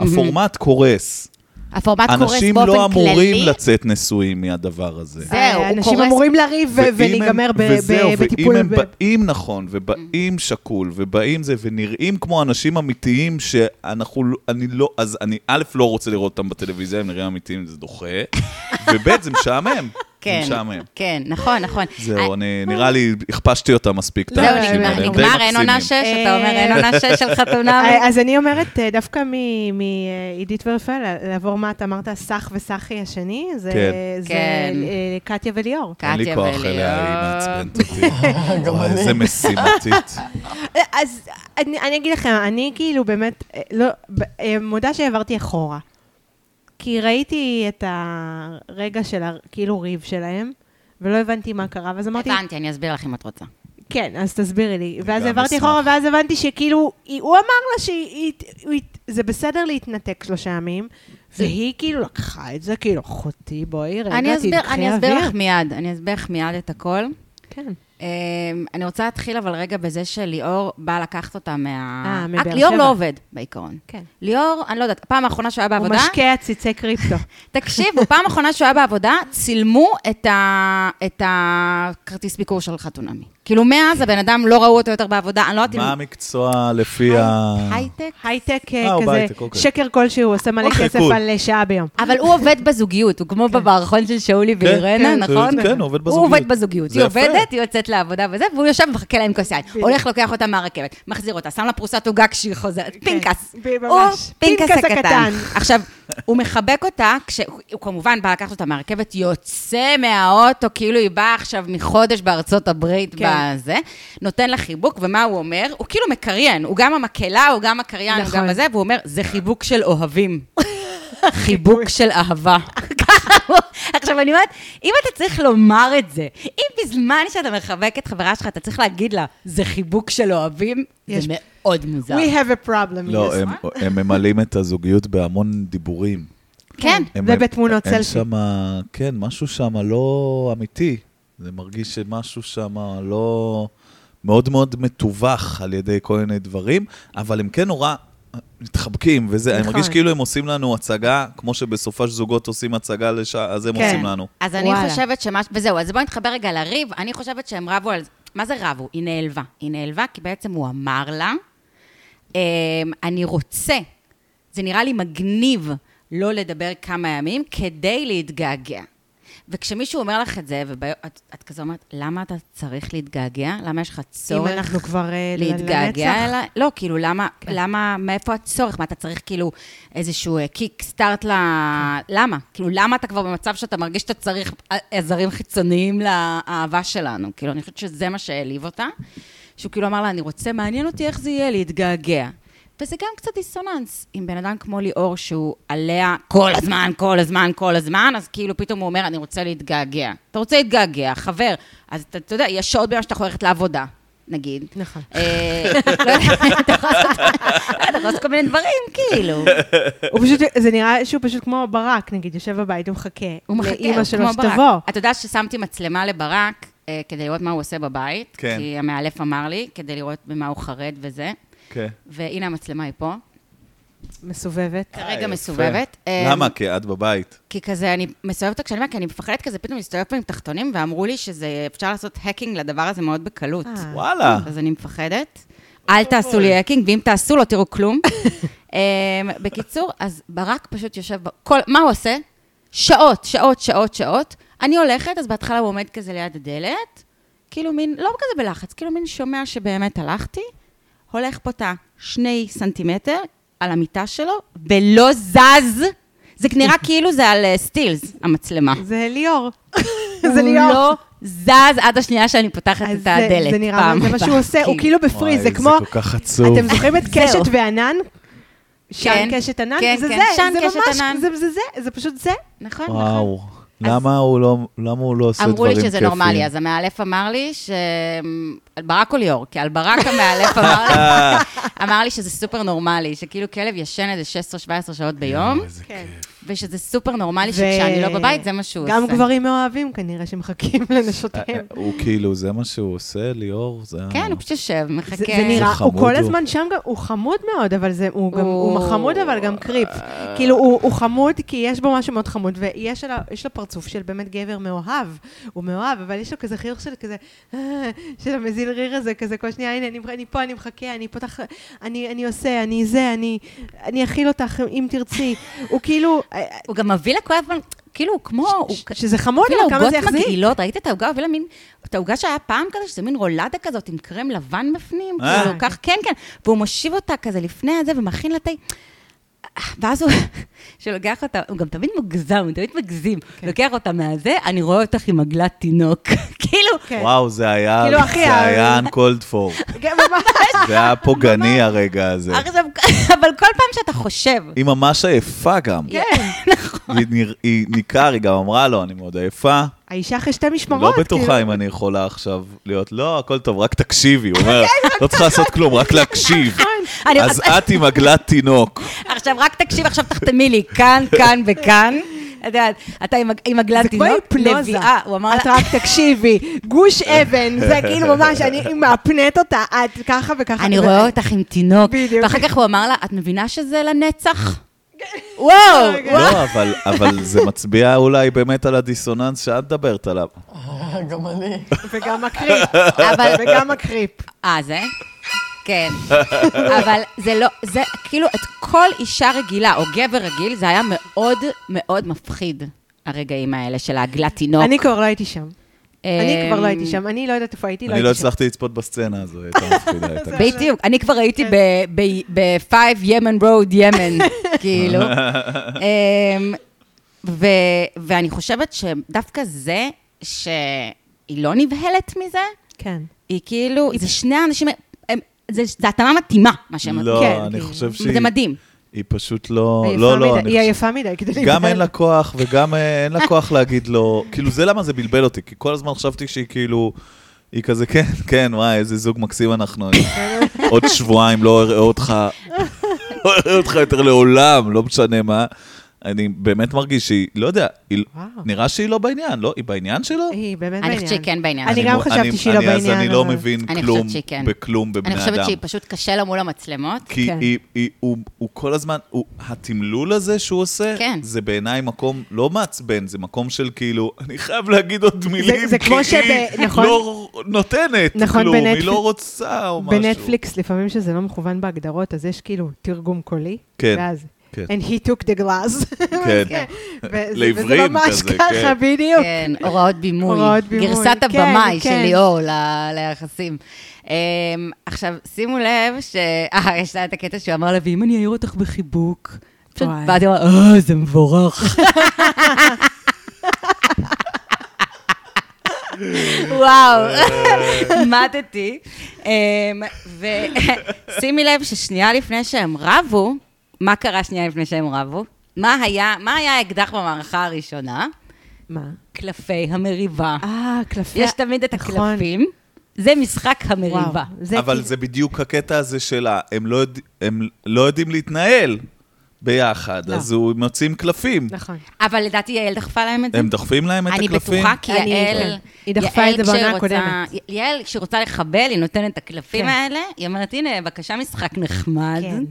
הפורמט קורס.
הפורמט קורס באופן כללי.
אנשים לא אמורים לצאת נשואים מהדבר הזה.
זהו, הוא
אה, אנשים
קורס-
אמורים לריב ו-
ואם
ולהיגמר
הם-
ב- ב-
וזהו,
בטיפול.
ואם הם
ב-
באים נכון,
Mm.
ובאים שקול, ובאים זה, ונראים כמו אנשים אמיתיים שאנחנו, לא- אני לא, אז אני א', לא רוצה לראות אותם בטלוויזיה, הם נראים אמיתיים, זה דוחה, וב', זה משעמם. זה
כן,
משעמם.
כן, נכון, נכון.
זהו, אני, נראה לי, הכפשתי אותם מספיק, את
זהו,
לא,
האנשים
נגמר,
האלה, הם די
נגמר, אין עונה
מקסימים.
שש, אתה אומר, אין עונה שש של חתונה.
אה, אז אני אומרת, אה, דווקא מעידית ורפאל, לעבור מה אתה אמרת, סך וסחי השני, זה
כן.
זה,
כן.
אה, קטיה וליאור.
אין לי
קטיה
כוח
וליאור.
אליה, היא מעצבנת אותי. וואי, איזה משימתית.
אה, אז אני אני אגיד לכם, אני כאילו באמת, אה, לא, ב- אה, מודה שהעברתי אחורה. כי ראיתי את הרגע של, ה- כאילו, ריב שלהם, ולא הבנתי מה קרה, ואז אמרתי,
הבנתי, אני אסביר לך אם את רוצה.
כן, אז תסבירי לי. ואז
גם
עברתי
אשמח.
אחורה, ואז הבנתי שכאילו, היא- הוא אמר לה שזה בסדר להתנתק שלושה ימים, והיא כאילו לקחה את זה, כאילו, אחותי, בואי, רגע,
אני אסביר,
תדחי
אני אסביר
אוויר."
לך מיד, אני אסביר לך מיד את הכל.
כן.
אמ, אני רוצה להתחיל אבל רגע בזה שליאור בא לקחת אותה מה...
אה, מבאר
אה, ליאור
שבע.
לא עובד, בעיקרון.
כן.
ליאור, אני לא יודעת, פעם האחרונה שהוא היה
הוא
בעבודה,
משקה עציצי קריפטו.
תקשיבו, פעם האחרונה שהוא היה בעבודה, צילמו את ה- את הכרטיס ביקור של חתונמי. כאילו, מאז הבן אדם, לא ראו אותו יותר בעבודה, אני לא יודעת אם...
מה המקצוע לפי ה...
הייטק?
הייטק
אה, הוא
אה,
בהייטק,
כזה,
אוקיי.
שקר כלשהו, עושה מלא
אוקיי,
כסף
קול.
על אה, שעה ביום.
אבל הוא עובד בזוגיות, הוא
כן.
כמו במערכון של שאולי ואירנה,
כן,
נכון?
כן, עובד בזוגיות.
הוא עובד בזוגיות,
זה
היא
יפה.
עובדת, היא יוצאת לעבודה וזה, והוא יושב ומחכה להם כוס יין. הולך, לוקח אותה מהרכבת, מחזיר אותה, שם לה פרוסת עוגה כשהיא חוזרת. פנקס.
כן, ב- ממש.
הוא פנקס
פנקס הקטן.
הקטן. עכשיו, הוא מחבק אותה, כשהוא כמובן בא לקחת אותה מהרכבת, יוצא מהאוטו, כאילו היא באה עכשיו מחודש בארצות הברית,
כן.
הזה, נותן לה חיבוק, ומה הוא אומר? הוא כאילו מקריין, הוא גם המקהלה, הוא גם הקריין, הוא גם
נכון.
הזה, והוא אומר, זה חיבוק של אוהבים. חיבוק של אהבה. ככה הוא- עכשיו, אני אומרת, אם אתה צריך לומר את זה, אם בזמן שאתה מחבק את חברה שלך, אתה צריך להגיד לה, זה חיבוק של אוהבים,
יש-
זה מאוד מוזר.
We have a problem.
לא,
yes.
הם- הם ממלאים את הזוגיות בהמון דיבורים.
כן.
הם-
ובתמונות
אין
סלפי.
שמה, כן, משהו שם לא אמיתי. זה מרגיש שמשהו שם לא... מאוד מאוד מתווך על ידי כל מיני דברים, אבל הם כן נורא מתחבקים וזה. אני
נכון.
מרגיש כאילו הם עושים לנו הצגה, כמו שבסופה של זוגות עושים הצגה לשעה, אז הם
כן.
עושים לנו.
אז אני
וואלה.
חושבת שמה... וזהו, אז בואו נתחבר רגע לריב. אני חושבת שהם רבו על... מה זה רבו? היא נעלבה. היא נעלבה כי בעצם הוא אמר לה, אמ, אני רוצה, זה נראה לי מגניב לא לדבר כמה ימים כדי להתגעגע. וכשמישהו אומר לך את זה, ואת את כזה אומרת, למה אתה צריך להתגעגע? למה יש לך
אם
צורך?
אנחנו כבר אה, ל-
להתגעגע
לנצח. כן.
אליי? לא, כאילו, למה, למה, מאיפה הצורך? מה, אתה צריך כאילו איזשהו אה, קיק סטארט ל...
כן.
למה? כאילו, למה אתה כבר במצב שאתה מרגיש שאתה צריך ע- עזרים חיצוניים לאהבה שלנו? כאילו, אני חושבת שזה מה שהעליב אותה. שהוא כאילו אמר לה, אני רוצה, מעניין אותי איך זה יהיה להתגעגע. וזה גם קצת דיסוננס עם בן אדם כמו ליאור, שהוא עליה כל הזמן, כל הזמן, כל הזמן, אז כאילו פתאום הוא אומר, אני רוצה להתגעגע. אתה רוצה להתגעגע, חבר. אז אתה, אתה יודע, יש שעות ביום שאתה הולכת לעבודה, נגיד.
נכון.
אה, לא יודעת, אתה יכול לעשות- אתה יכול לעשות כל מיני דברים, כאילו.
הוא פשוט, זה נראה שהוא פשוט כמו ברק, נגיד, יושב בבית, הוא מחכה.
הוא מחכה,
לאימא
הוא
שלו
כמו ברק.
שתבוא.
אתה יודע ששמתי מצלמה לברק אה, כדי לראות מה הוא עושה בבית,
כן.
כי המאלף אמר לי, כדי לראות ממה הוא חרד וזה,
כן.
והנה המצלמה היא פה,
מסובבת.
כרגע מסובבת. אה,
למה? כי את בבית.
כי כזה, אני מסובבת את הקשרים, כי אני מפחדת כזה פתאום להסתובב פה עם תחתונים, ואמרו לי שזה, אפשר לעשות האקינג לדבר הזה מאוד בקלות.
אה.
וואלה.
אז אני מפחדת. אל תעשו לי האקינג, ואם תעשו, לא תראו כלום. אמ, בקיצור, אז ברק פשוט יושב, ב- כל, מה הוא עושה? שעות, שעות, שעות, שעות. אני הולכת, אז בהתחלה הוא עומד כזה ליד הדלת, כאילו מין, לא כזה בלחץ, כאילו מין שומע שבאמת הלכתי, הולך פותה שני סנטימטר על המיטה שלו, ולא זז. זה נראה כאילו זה על אה, סטילס, המצלמה.
זה ליאור. זה
הוא
ליאור.
לא זז עד השנייה שאני פותחת
אז
את
זה-
הדלת.
זה נראה,
פעם
מה- זה מה
הבאה. כן.
שהוא עושה, הוא כאילו בפריז, זה כמו,
וואי, זה כל כך עצוב.
אתם זוכרים את
זהו.
קשת וענן?
כן.
שן קשת ענן?
כן,
זה
כן,
זה,
שן
זה
קשת
ממש,
ענן.
זה- זה זה, זה פשוט זה.
נכון, נכון.
וואו. למה הוא לא- למה הוא לא עושה דברים
אמרו
כיפיים?
לי שזה נורמלי, אז המאלף אמר לי ש... על ברק או ליאור? כי על ברק המאלף אמר לי, אמר לי שזה סופר נורמלי, שכאילו כלב ישן איזה 16-17 שעות ביום,
איזה כיף.
ושזה סופר נורמלי
ו-
שכשאני כן. לא בבית זה מה שהוא
גם
עושה.
גברים מאוהבים כנראה שמחכים לנשותיהם.
הוא כאילו, זה מה שהוא עושה, ליאור? זה ה-
כן, הוא פשוט יושב, מחכה.
זה זה נראה, הוא
חמוד
כל
הוא.
הזמן שם גם, הוא חמוד מאוד, אבל זה, הוא גם, הוא
הוא-
חמוד אבל גם קריפ. כאילו, הוא הוא חמוד כי יש בו משהו מאוד חמוד, ויש עליו- יש לו פרצוף של באמת גבר מאוהב. הוא מאוהב, אבל יש לו כזה חיוך של כזה, "אה", של המזיל ריר הזה, כזה כל שנייה, הנה, אני- אני פה, אני מחכה, אני פותח, אני אני עושה, אני זה, אני אני אכיל אותך אם תרצי. הוא כאילו, אה,
הוא גם מביא לה כל הזמן, כאילו, הוא כמו... הוא כאילו כ-
שזה חמוד,
הביא לה
אבל כמה זה
עוגות
יחזיק.
מגעילות, ראית את העוגה? הוא הביא לה מין, את העוגה שהיה פעם כזה, שזה מין רולדה כזאת עם קרם לבן בפנים,
אה.
כאילו, כך, כן, כן. והוא מושיב אותה כזה לפני הזה ומכין לה תה. ואז הוא, שלוקח אותה, הוא גם תמיד מוגזם, הוא תמיד מגזים.
כן.
לוקח אותה מהזה, אני רואה אותך עם עגלת תינוק. כאילו,
כן.
וואו, זה היה,
כאילו, אחי,
זה
ה-
היה uncalled for.
כן, ממש.
זה היה פוגעני הרגע
כן.
הזה.
עכשיו, אבל כל פעם שאתה חושב, נכון.
היא ממש עייפה גם.
כן.
היא נר- היא ניכר, היא גם אמרה לו, אני מאוד עייפה.
האישה אחרי שתי משמרות.
לא
כאילו.
בטוחה אם אני יכולה עכשיו להיות, לא, הכל טוב, רק תקשיבי.
כן,
הוא אומר, לא צריך לעשות כלום, רק להקשיב.
נכון.
אני-
אז את עם עגלת תינוק.
עכשיו רק תקשיב, עכשיו תחתמי לי, כאן, כאן וכאן. את יודעת, אתה עם- עם עגלת
זה כמו
תינוק,
היפנוזה.
"לא, נביאה. הוא אמר לה,
את רק תקשיבי, גוש אבן, זה כאילו ממש, אני מאפנט אותה, את ככה וככה.
אני רואה אותך עם תינוק.
בדיוק.
ואחר כך הוא אמר לה, את מבינה שזה לנצח? וואו,
רגע.
וואו.
לא, אבל- אבל זה מצביע אולי באמת על הדיסוננס שאת מדברת עליו.
גם אני.
וגם הקריפ,
אבל-
וגם הקריפ.
אה, זה? כן. אבל זה לא, זה כאילו, את כל אישה רגילה או גבר רגיל, זה היה מאוד מאוד מפחיד, הרגעים האלה של העגלת תינוק.
אני כבר לא הייתי שם.
אה,
אני כבר לא הייתי שם, אני לא יודעת איפה הייתי, לא
אני לא
הייתי שם.
הצלחתי לצפות בסצנה הזו, היא הייתה מפחידה. הייתה
בדיוק, אני כבר הייתי ב-5 ימן רוד ימן, כאילו. אמ, ו- ואני חושבת שדווקא זה שהיא לא נבהלת מזה,
כן.
היא כאילו, זה שני האנשים, הם- זה- זה התאמה מתאימה, מה שהם...
לא,
כן,
אני
כאילו.
חושב שהיא...
זה מדהים.
היא פשוט לא...
עייפה
לא, לא,
מדי-
אני
היא
חושב...
עייפה מדי כדי
גם אין לה כוח וגם אה, אין לה כוח להגיד לו... כאילו, זה למה זה בלבל אותי, כי כל הזמן חשבתי שהיא כאילו... היא כזה, כן, כן, וואי, איזה זוג מקסים אנחנו. עוד שבועיים לא אראה אותך, לא אראה אותך יותר לעולם, לא משנה מה. אני באמת מרגיש שהיא, לא יודע, היא-
וואו.
נראה שהיא לא בעניין, לא? היא בעניין שלו?
היא באמת
אני
בעניין.
חושבת שהיא כן בעניין.
אני
הזה.
גם
מ-
חשבתי שהיא לא
אני- אז
בעניין,
אני לא
אבל-
מבין
אני
כלום
חושבת שהיא כן.
בכלום בבני
אני
אדם.
חושבת שהיא פשוט קשה לה מול המצלמות.
כי
כן.
היא, היא, הוא, הוא כל הזמן, הוא, התמלול הזה שהוא עושה,
כן.
זה בעיניי מקום לא מעצבן, זה מקום של כאילו, אני חייב להגיד עוד מילים,
זה כמו
כי
שב-
היא
נכון.
לא נותנת
נכון,
כלום,
בנטפליק-
היא לא רוצה או משהו.
בנטפליקס, לפעמים שזה לא מכוון בהגדרות, אז יש כאילו תרגום קולי,
כן,
ואז,
כן.
and he took the glass.
כן.
וזה-
לעברית
וזה ממש
כזה,
ככה,
כן.
בדיוק.
כן, הוראות בימוי.
הוראות בימוי,
גרסת
כן,
הבמאי
כן.
של ליאור ל- ליחסים. אמ, עכשיו, שימו לב ש... אה, יש לה את הקטע שהוא אמר לה, ואם אני אעיר אותך בחיבוק? פשוט
וואי.
באתי ואמרה, אה, זה מבורך. וואו, מתתי. אמ, ושימי לב ששנייה לפני שהם רבו, מה קרה שנייה לפני שהם רבו? מה היה, מה היה האקדח במערכה הראשונה?
מה?
קלפי המריבה.
אה, קלפי...
יש תמיד את
נכון.
הקלפים, זה משחק המריבה.
וואו,
אבל
כאילו-
זה בדיוק הקטע הזה שלה, הם לא, יודע, הם לא יודעים להתנהל ביחד,
לא.
אז הוא מוצאים קלפים.
נכון.
אבל לדעתי יעל דחפה להם את זה.
הם דוחפים להם את
אני
הקלפים?
בטוחה כי
אני-
יעל...
כן. היא דחפה
יעל
את זה בעונה
כשהיא רוצה-
הקודמת.
י- יעל, כשהיא רוצה לחבל, היא נותנת את הקלפים
כן.
האלה, היא אומרת, הנה, בבקשה, משחק נחמד.
כן.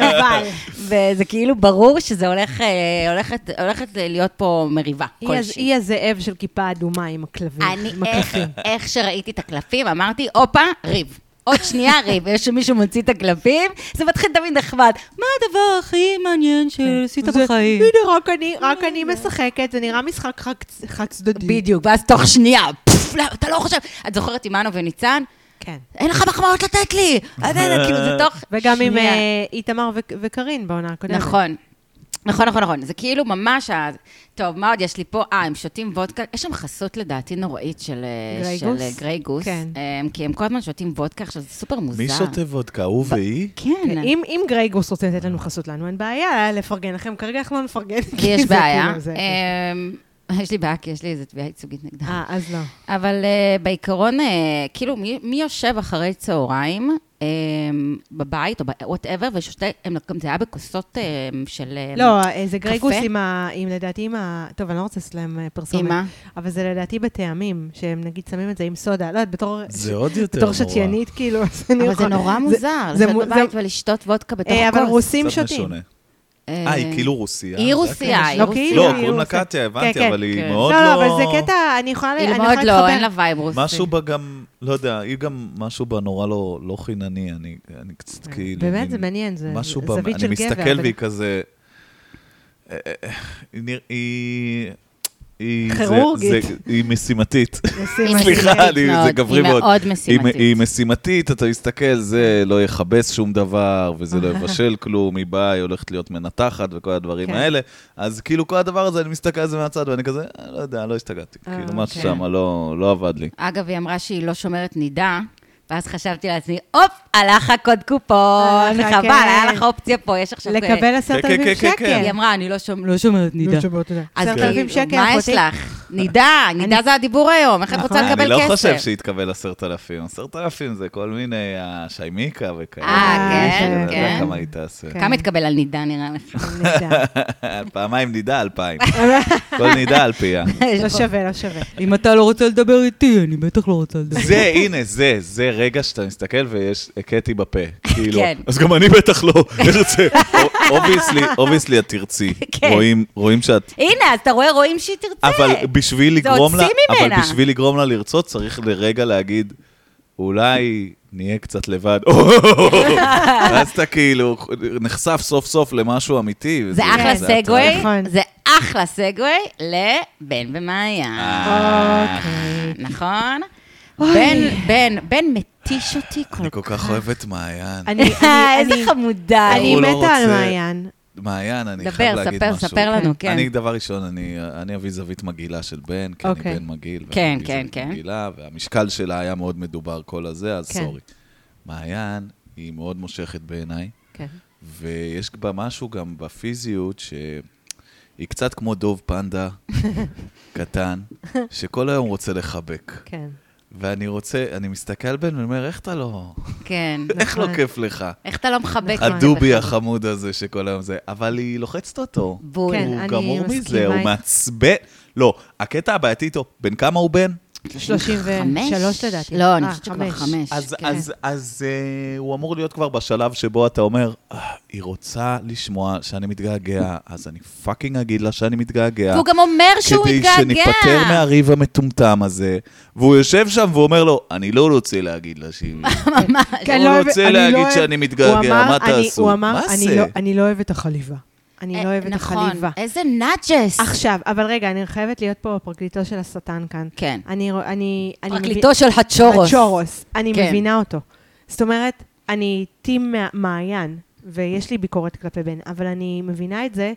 אבל. וזה כאילו ברור שזה הולך, אה, הולכת, הולכת להיות פה מריבה
היא הז-
כלשהי.
היא הזאב של כיפה אדומה עם הכלבים.
אני, אה,
עם
איך,
הקלפים.
איך שראיתי את הקלפים, אמרתי, הופה, ריב. עוד שנייה ריב, יש מישהו מוציא את הקלפים, זה מתחיל תמיד נחמד. מה הדבר הכי מעניין שעשית
כן, זה-
אה, בחיים? אה.
הנה, רק אני- רק אני משחקת, זה נראה משחק חד- חד צדדי.
בדיוק, ואז תוך שנייה, פפפ, לא, אתה לא חושב, את זוכרת עמנו וניצן?
כן.
אין לך מחמאות לתת לי! אתה יודע, כאילו זה תוך
וגם עם
שנייה.
אה, איתמר ו- וקארין בעונה הקודמת.
נכון. נכון, נכון, נכון. זה כאילו ממש ה... טוב, מה עוד יש לי פה? אה, הם שותים וודקה. יש שם חסות לדעתי נוראית של אה,
גריי
של,
גוס?
אה, גריי גוס.
כן.
אה, כי הם כל הזמן שותים וודקה, עכשיו זה סופר מוזר.
מי שותה וודקה, הוא והיא?
כן.
אם, אם גרייגוס רוצה לתת לנו חסות לנו, אין בעיה לפרגן לכם, כרגע אנחנו לא נפרגן.
לי
כי
יש
זה
בעיה. אה.
כאילו זה-
אמ, יש לי בעיה, כי יש לי איזו תביעה ייצוגית נגדם.
אה, אז לא.
אבל אה, בעיקרון, אה, כאילו, מי מי יושב אחרי צהריים אה, בבית או וואטאבר, ושותה, הם לא, גם זה היה בכוסות אה, של... אה,
לא, אה, זה גרייגוס
קפה?
עם ה... עם לדעתי עם ה... טוב, אני לא רוצה לעשות להם אה, פרסומת.
עם מה?
אבל זה לדעתי בטעמים, שהם נגיד שמים את זה עם סודה. לא יודעת, בתור...
זה עוד יותר
בתור
נורא.
שתיינית, כאילו, אז אני
אבל זה נורא מוזר,
זה
לשבת
מו- זה-
בבית ולשתות וודקה בתוך
אה, אבל
כוס.
רוסים
קצת
שותים.
משונה. אה, היא כאילו רוסיה.
היא
זה
רוסיה,
הקטע.
היא
לא,
רוסיה.
כאילו,
לא,
היא
קוראים לה
רוסיה.
קטיה, הבנתי,
כן, כן.
אבל היא
כן.
מאוד לא...
לא, אבל זה קטע, אני יכולה...
היא
אני
מאוד
יכולה
לא,
להתחבר.
אין לה וייב רוסי.
משהו בה גם, לא יודע, היא גם, משהו בה נורא לא, לא חינני, אני, אני קצת כאילו...
אה, באמת,
מין-
זה מעניין, זה
משהו
ז-
בה,
זווית
אני
של
מסתכל
גבר, אבל-
והיא כזה... אה, אה, היא נרא- היא... היא... זה-
כירורגית.
זה- היא משימתית.
נשים
היא
משהו.
משימתית
סליחה, אני- זה
מאוד,
גברי
היא
מאוד.
מאוד
היא מ-
משימתית.
היא משימתית, אתה מסתכל, זה לא יכבס שום דבר, וזה לא יבשל כלום, היא באה, היא הולכת להיות מנתחת וכל הדברים
כן.
האלה. אז כאילו כל הדבר הזה, אני מסתכל על זה מהצד, ואני כזה, "אה, לא יודע, לא השתגעתי.
אה,
כאילו, משהו
אוקיי.
שם לא לא עבד לי.
אגב, היא אמרה שהיא לא שומרת נידה, ואז חשבתי לעצמי, הופ, הלך הקוד קופון,
הלך,
חבל,
כן.
היה לך אופציה פה, יש עכשיו... אה,
לקבל עשרת אלפים
כן, כן, כן.
היא
שקל.
אמרה, אני לא שומ- לא שומרת נידה. אז
עשרת
כאילו,
אלפים שקל,
מה יש
אחותי.
לך? נידה, נידה זה הדיבור היום, איך את
נכון.
רוצה לקבל
אני
כסף?
לא חושב שהתקבל עשרת אלפים. עשרת אלפים זה כל מיני השיימיקה וכאלה.
אה,
כן,
אני לא יודע
כן.
כמה היא תעשה.
כן.
כמה התקבל על נידה, נראה לך?
נידה.
פעמיים נידה, אלפיים. כל נידה על פיה.
לא שווה, לא שווה.
אם אתה לא רוצה לדבר איתי, אני בטח לא רוצה לדבר.
זה, הנה, זה, זה רגע שאתה מסתכל ויש הכיתי בפה. כאילו,
כן.
אז גם אני בטח לא ארצה. אובייסלי, אובייסלי את תרצי.
כן.
רואים- רואים שאת...
הנה, אז אתה רואה, רואים שהיא תרצה.
אבל בשביל
זה
לגרום לה,
הוציא
אבל
ממנה.
בשביל לגרום לה לרצות, צריך לרגע להגיד, אולי נהיה קצת לבד. ואז אתה כאילו נחשף סוף סוף למשהו אמיתי. וזה-
זה אחלה
זה
סגווי,
נכון.
זה אחלה סגווי לבן ומאיה,
אה.
אוקיי.
נכון? בן, בן, בן מתיש אותי כל
אני
כך.
כל כך אוהב את מעיין.
אני- אני-
איזה
אני-
חמודה.
אני
הוא לא
מתה על
רוצה.
מעיין.
מעיין, אני
דבר,
חייב להגיד
ספר,
משהו.
ספר לנו, כן.
אני, דבר ראשון, אני, אני אביא זווית מגעילה של בן, כי
אוקיי.
אני בן מגעיל. ואני
כן,
אביא
כן,
זווית
כן.
מגעילה, והמשקל שלה היה מאוד מדובר כל הזה, אז
כן.
סורי. מעיין, היא מאוד מושכת בעיניי,
כן.
ויש בה משהו גם בפיזיות, שהיא קצת כמו דוב פנדה קטן, שכל היום רוצה לחבק.
כן.
ואני רוצה, אני מסתכל על בן ואני אומר, איך אתה לא,
כן.
איך לא
נכון.
כיף לך?
איך אתה לא מחבק?
נכון.
הדובי החמוד הזה שכל היום זה, אבל היא לוחצת אותו.
בול.
כן,
הוא
אני
גמור
מסכימה
מזה, הוא
איתך.
מעצבן. לא, הקטע הבעייתי איתו, בן כמה הוא בן?
33 לדעתי.
לא, אני
אה,
חושבת שכבר
חמש.
חמש.
אז,
כן.
אז, אז אה, הוא אמור להיות כבר בשלב שבו אתה אומר, "אה, היא רוצה לשמוע שאני מתגעגע, אז אני פאקינג אגיד לה שאני מתגעגע.
והוא גם אומר שהוא
כדי
מתגעגע.
שניפטר מהריב המטומטם הזה, והוא יושב שם והוא לו, אני לא רוצה להגיד לה שהיא...
ממש.
כן. הוא
לא אוהב-
רוצה
אני
להגיד
אוהב-
שאני מתגעגע,
הוא אמר,
מה
אני-
תעשו?
הוא אמר,
מה
"אני
זה?"
לא- אני לא אוהב את החליבה. אני לא
אה,
אוהב את החליבה.
נכון, איזה נאצ'ס.
עכשיו, אבל רגע, אני חייבת להיות פה פרקליטו של השטן כאן.
כן.
אני... רוא- אני... אני מבין-
פרקליטו של הצ'ורוס.
הצ'ורוס. אני
כן.
מבינה אותו. זאת אומרת, אני טים מע- מעיין, ויש לי ביקורת כלפי בן, אבל אני מבינה את זה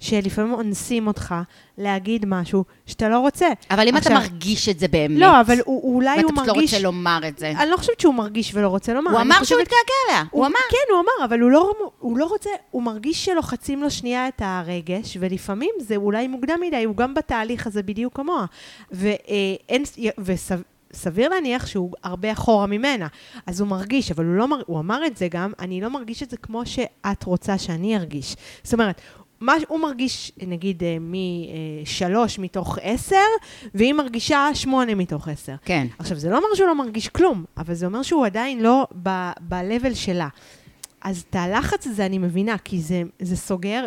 שלפעמים אונסים אותך להגיד משהו שאתה לא רוצה.
אבל אם אתה
עכשיו-
מרגיש את זה באמת,
לא, אבל הוא- אולי הוא
ואתה פשוט לא
מרגיש...
רוצה לומר את זה.
אני לא חושבת שהוא מרגיש ולא רוצה לומר.
הוא
אני
אמר שהוא
חושבת-
מתגעגע אליה, הוא אמר.
כן, הוא אמר, אבל הוא לא, הוא לא רוצה, הוא מרגיש שלוחצים לו שנייה את הרגש, ולפעמים זה אולי מוקדם מדי, הוא גם בתהליך הזה בדיוק כמוה. אה, ואין, וסביר להניח שהוא הרבה אחורה ממנה. אז הוא מרגיש, אבל הוא, לא מר, הוא אמר את זה גם, אני לא מרגיש את זה כמו שאת רוצה שאני ארגיש. זאת אומרת, מה הוא מרגיש, נגיד, אה, משלוש מתוך עשר, והיא מרגישה שמונה מתוך עשר.
כן.
עכשיו, זה לא אומר שהוא לא מרגיש כלום, אבל זה אומר שהוא עדיין לא ב- ב-level שלה. אז את הלחץ הזה אני מבינה, כי זה, זה סוגר,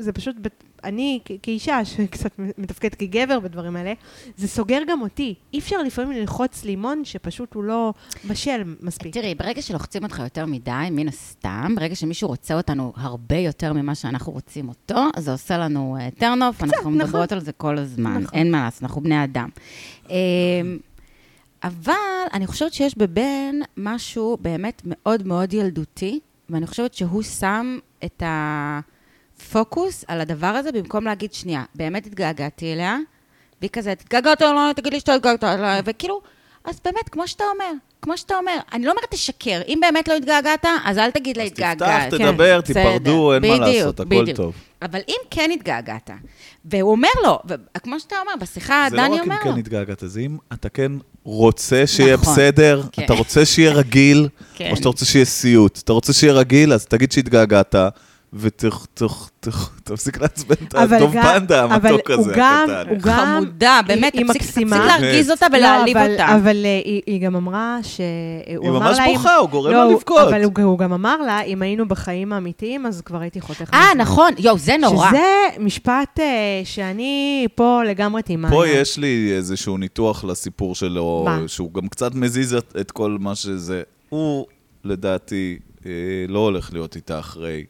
וזה פשוט, בת- אני כ- כאישה שקצת מתפקדת כגבר בדברים האלה, זה סוגר גם אותי. אי אפשר לפעמים ללחוץ לימון שפשוט הוא לא בשל מספיק.
תראי, ברגע שלוחצים אותך יותר מדי, מן הסתם, ברגע שמישהו רוצה אותנו הרבה יותר ממה שאנחנו רוצים אותו, אז זה עושה לנו טרנוף, אנחנו
נכון.
מדברות על זה כל הזמן,
נכון.
אין מה לעשות, אנחנו בני אדם. אה, אבל אני חושבת שיש בבן משהו באמת מאוד מאוד ילדותי, ואני חושבת שהוא שם את הפוקוס על הדבר הזה, במקום להגיד, שנייה, באמת התגעגעתי אליה, והיא כזה, התגעגעת או לא, תגיד לי שאתה התגעגעת או לא, וכאילו, אז באמת, כמו שאתה אומר, כמו שאתה אומר, אני לא אומרת תשקר, אם באמת לא התגעגעת, אז אל תגיד לה
אז
התגעגעת.
תפתח,
כן. בסדר,
תדבר, תיפרדו, אין מה
בדיוק,
לעשות, הכל
בדיוק.
טוב.
אבל אם כן התגעגעת, והוא אומר לו, וכמו שאתה אומר, בשיחה,
אה,
זה
דני אומר
לא
לו.
רק אם כן התגעגעת, זה אם אתה כן רוצה שיהיה
נכון,
בסדר,
כן.
אתה רוצה שיהיה רגיל,
כן.
או שאתה רוצה שיהיה סיוט. אתה רוצה שיהיה רגיל, אז תגיד שהתגעגעת, ותפסיק לעצבן את
אבל
הדוב
גם-
פנדה
אבל
המתוק
הוא
הזה,
גם-
הקטן.
הוא גם-
חמודה, באמת,
היא- היא
תפסיק תפסיק
מקסימה.
להרגיז אותה ולהעליב
לא, אבל-
אותה.
אבל אה, היא, היא גם אמרה ש... אה,
היא ממש בוכה, הוא גורם לה
הוא-
לבכות.
לא, אבל הוא, הוא גם אמר לה, אם היינו בחיים האמיתיים, אז כבר הייתי חותך.
אה,
מזמן."
נכון, יואו, זה נורא.
שזה משפט אה, שאני פה לגמרי תימאה.
פה יש לי איזשהו ניתוח לסיפור שלו,
מה?
שהוא גם קצת מזיז את- את כל מה שזה. הוא, לדעתי, אה, לא הולך להיות איתה אחרי,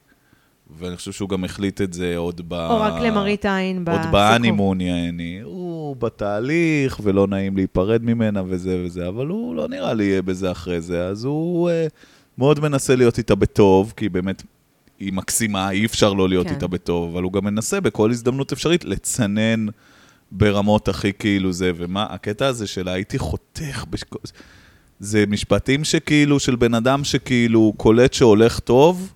ואני חושב שהוא גם החליט את זה עוד ב...
או רק למראית עין
כן,
בסיכום.
אה, עוד בהנימון, יעני. הוא בתהליך, ולא נעים להיפרד ממנה וזה וזה, אבל הוא לא נראה לי יהיה בזה אחרי זה, אז הוא אה, מאוד מנסה להיות איתה בטוב, כי באמת היא מקסימה, אי אפשר לא להיות
כן.
איתה בטוב, אבל הוא גם מנסה בכל הזדמנות אפשרית לצנן ברמות הכי כאילו זה, ומה, הקטע הזה של הייתי חותך בשכל... זה משפטים שכאילו, של בן אדם שכאילו הוא קולט שהולך טוב,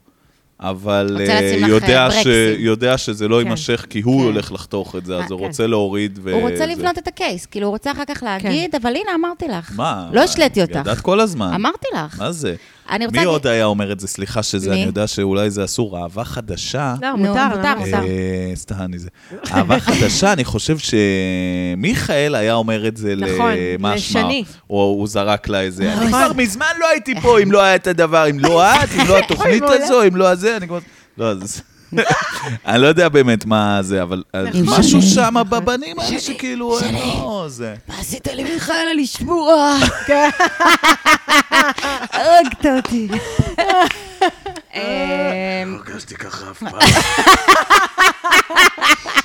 אבל
רוצה
אה,
לשים לך,
יודע,
אה,
ש...
ברקסים.
יודע שזה לא
כן.
יימשך, כי הוא
כן.
הולך לחתוך את זה,
אה,
אז הוא
כן.
רוצה להוריד ו...
הוא רוצה
זה.
לבנות את הקייס, כאילו, הוא רוצה אחר
כן.
כך להגיד, אבל הנה, אמרתי לך.
מה?
לא השליתי אותך.
ידעת כל הזמן.
אמרתי לך.
מה זה?
אני רוצה...
מי
להגיד-
עוד היה אומר את זה? סליחה שזה,
מי?
אני יודע שאולי זה אסור, אהבה חדשה.
לא,
נו,
מותר,
מותר,
למה?
מותר.
אה, סתם, אני זה. אהבה חדשה, אני חושב שמיכאל היה אומר את זה
נכון,
למשמע,
לשני.
או הוא זרק לה איזה, אני
נכון.
כבר מזמן לא הייתי פה אם לא היה את הדבר, אם לא את, אם לא התוכנית
אוי, מעולה.
הזו, אם לא הזה, אני כבר... לא, אז... אני לא יודע באמת מה זה, אבל אז
נכון.
משהו שם בבנים האלה שכאילו, אה, לא, זה...
מה עשית לי מיכאלה לשמוע?
כן.
הרגת אותי. אמ,
אוקיי. הרגשתי ככה אף פעם.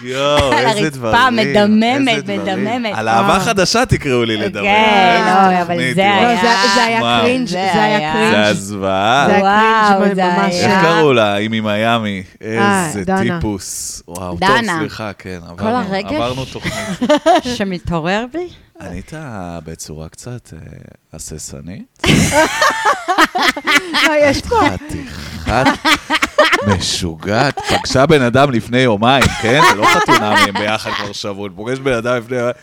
יואו,
על
איזה
הרצפה,
דברים. איזה
מדממת,
דברים.
מדממת.
על אהבה
וואו.
חדשה תקראו לי לדבר.
כן,
איזה
אוי, אבל
תוכנית,
זה
יואו.
לא,
היה-
זה זה היה
וואו.
קרינג',
זה היה.
זה היה
זה
קרינג'.
הזוועה.
זה היה
וואו,
קרינג'
זה
ממש.
היה.
איך קראו לה? היא ממיאמי.
אה,
איזה
דנה.
טיפוס. וואו, טוב,
דנה.
סליחה, כן. עברנו-
הרגש?
עברנו תוכנית.
שמתעורר בי?
ענית בצורה קצת אה, הססנית. אה.
לא, יש פה.
חתיכת משוגעת. פגשה בן אדם לפני יומיים, כן? זה לא חתונה מהם ביחד כבר שבוע. פוגש בן אדם לפני יומיים.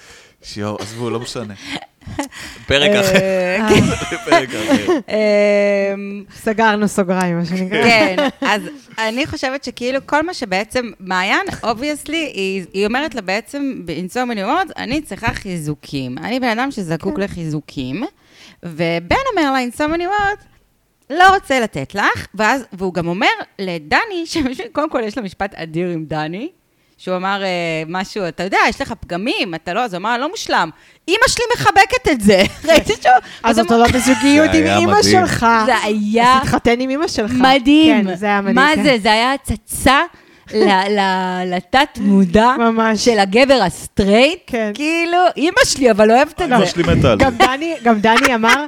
שיואו, עזבו, לא משנה. פרק אחר.
אה,
פרק אחר.
אמ,
סגרנו סוגריים, מה שנקרא.
כן, אז אני חושבת שכאילו כל מה שבעצם, מעיין, אובייסלי, היא, היא אומרת לה בעצם, in so many words, אני צריכה חיזוקים. אני בן אדם שזקוק לחיזוקים, ובן אומר לה, in so many words, לא רוצה לתת לך, ואז, והוא גם אומר לדני, שבשביל, קודם כל יש לו משפט אדיר עם דני, שהוא אמר אה, משהו, אתה יודע, יש לך פגמים, אתה לא, אז הוא אמר, לא מושלם. אמא שלי מחבקת את זה. ראיתי שהוא...
אז
הוא
אתה לא בזוגיות
זה
עם
היה
אימא
מדהים.
שלך.
זה היה
אז תתחתן עם אימא שלך.
מדהים.
כן, זה היה מדהים.
מה
כן.
זה? זה היה הצצה ל- ל- לתת-מודע
ממש.
של הגבר הסטרייט.
כן.
כאילו, אימא שלי, אבל אוהבת את
לא, אמא
זה.
שלי מתה על זה.
לא, גם דני, גם דני אמר...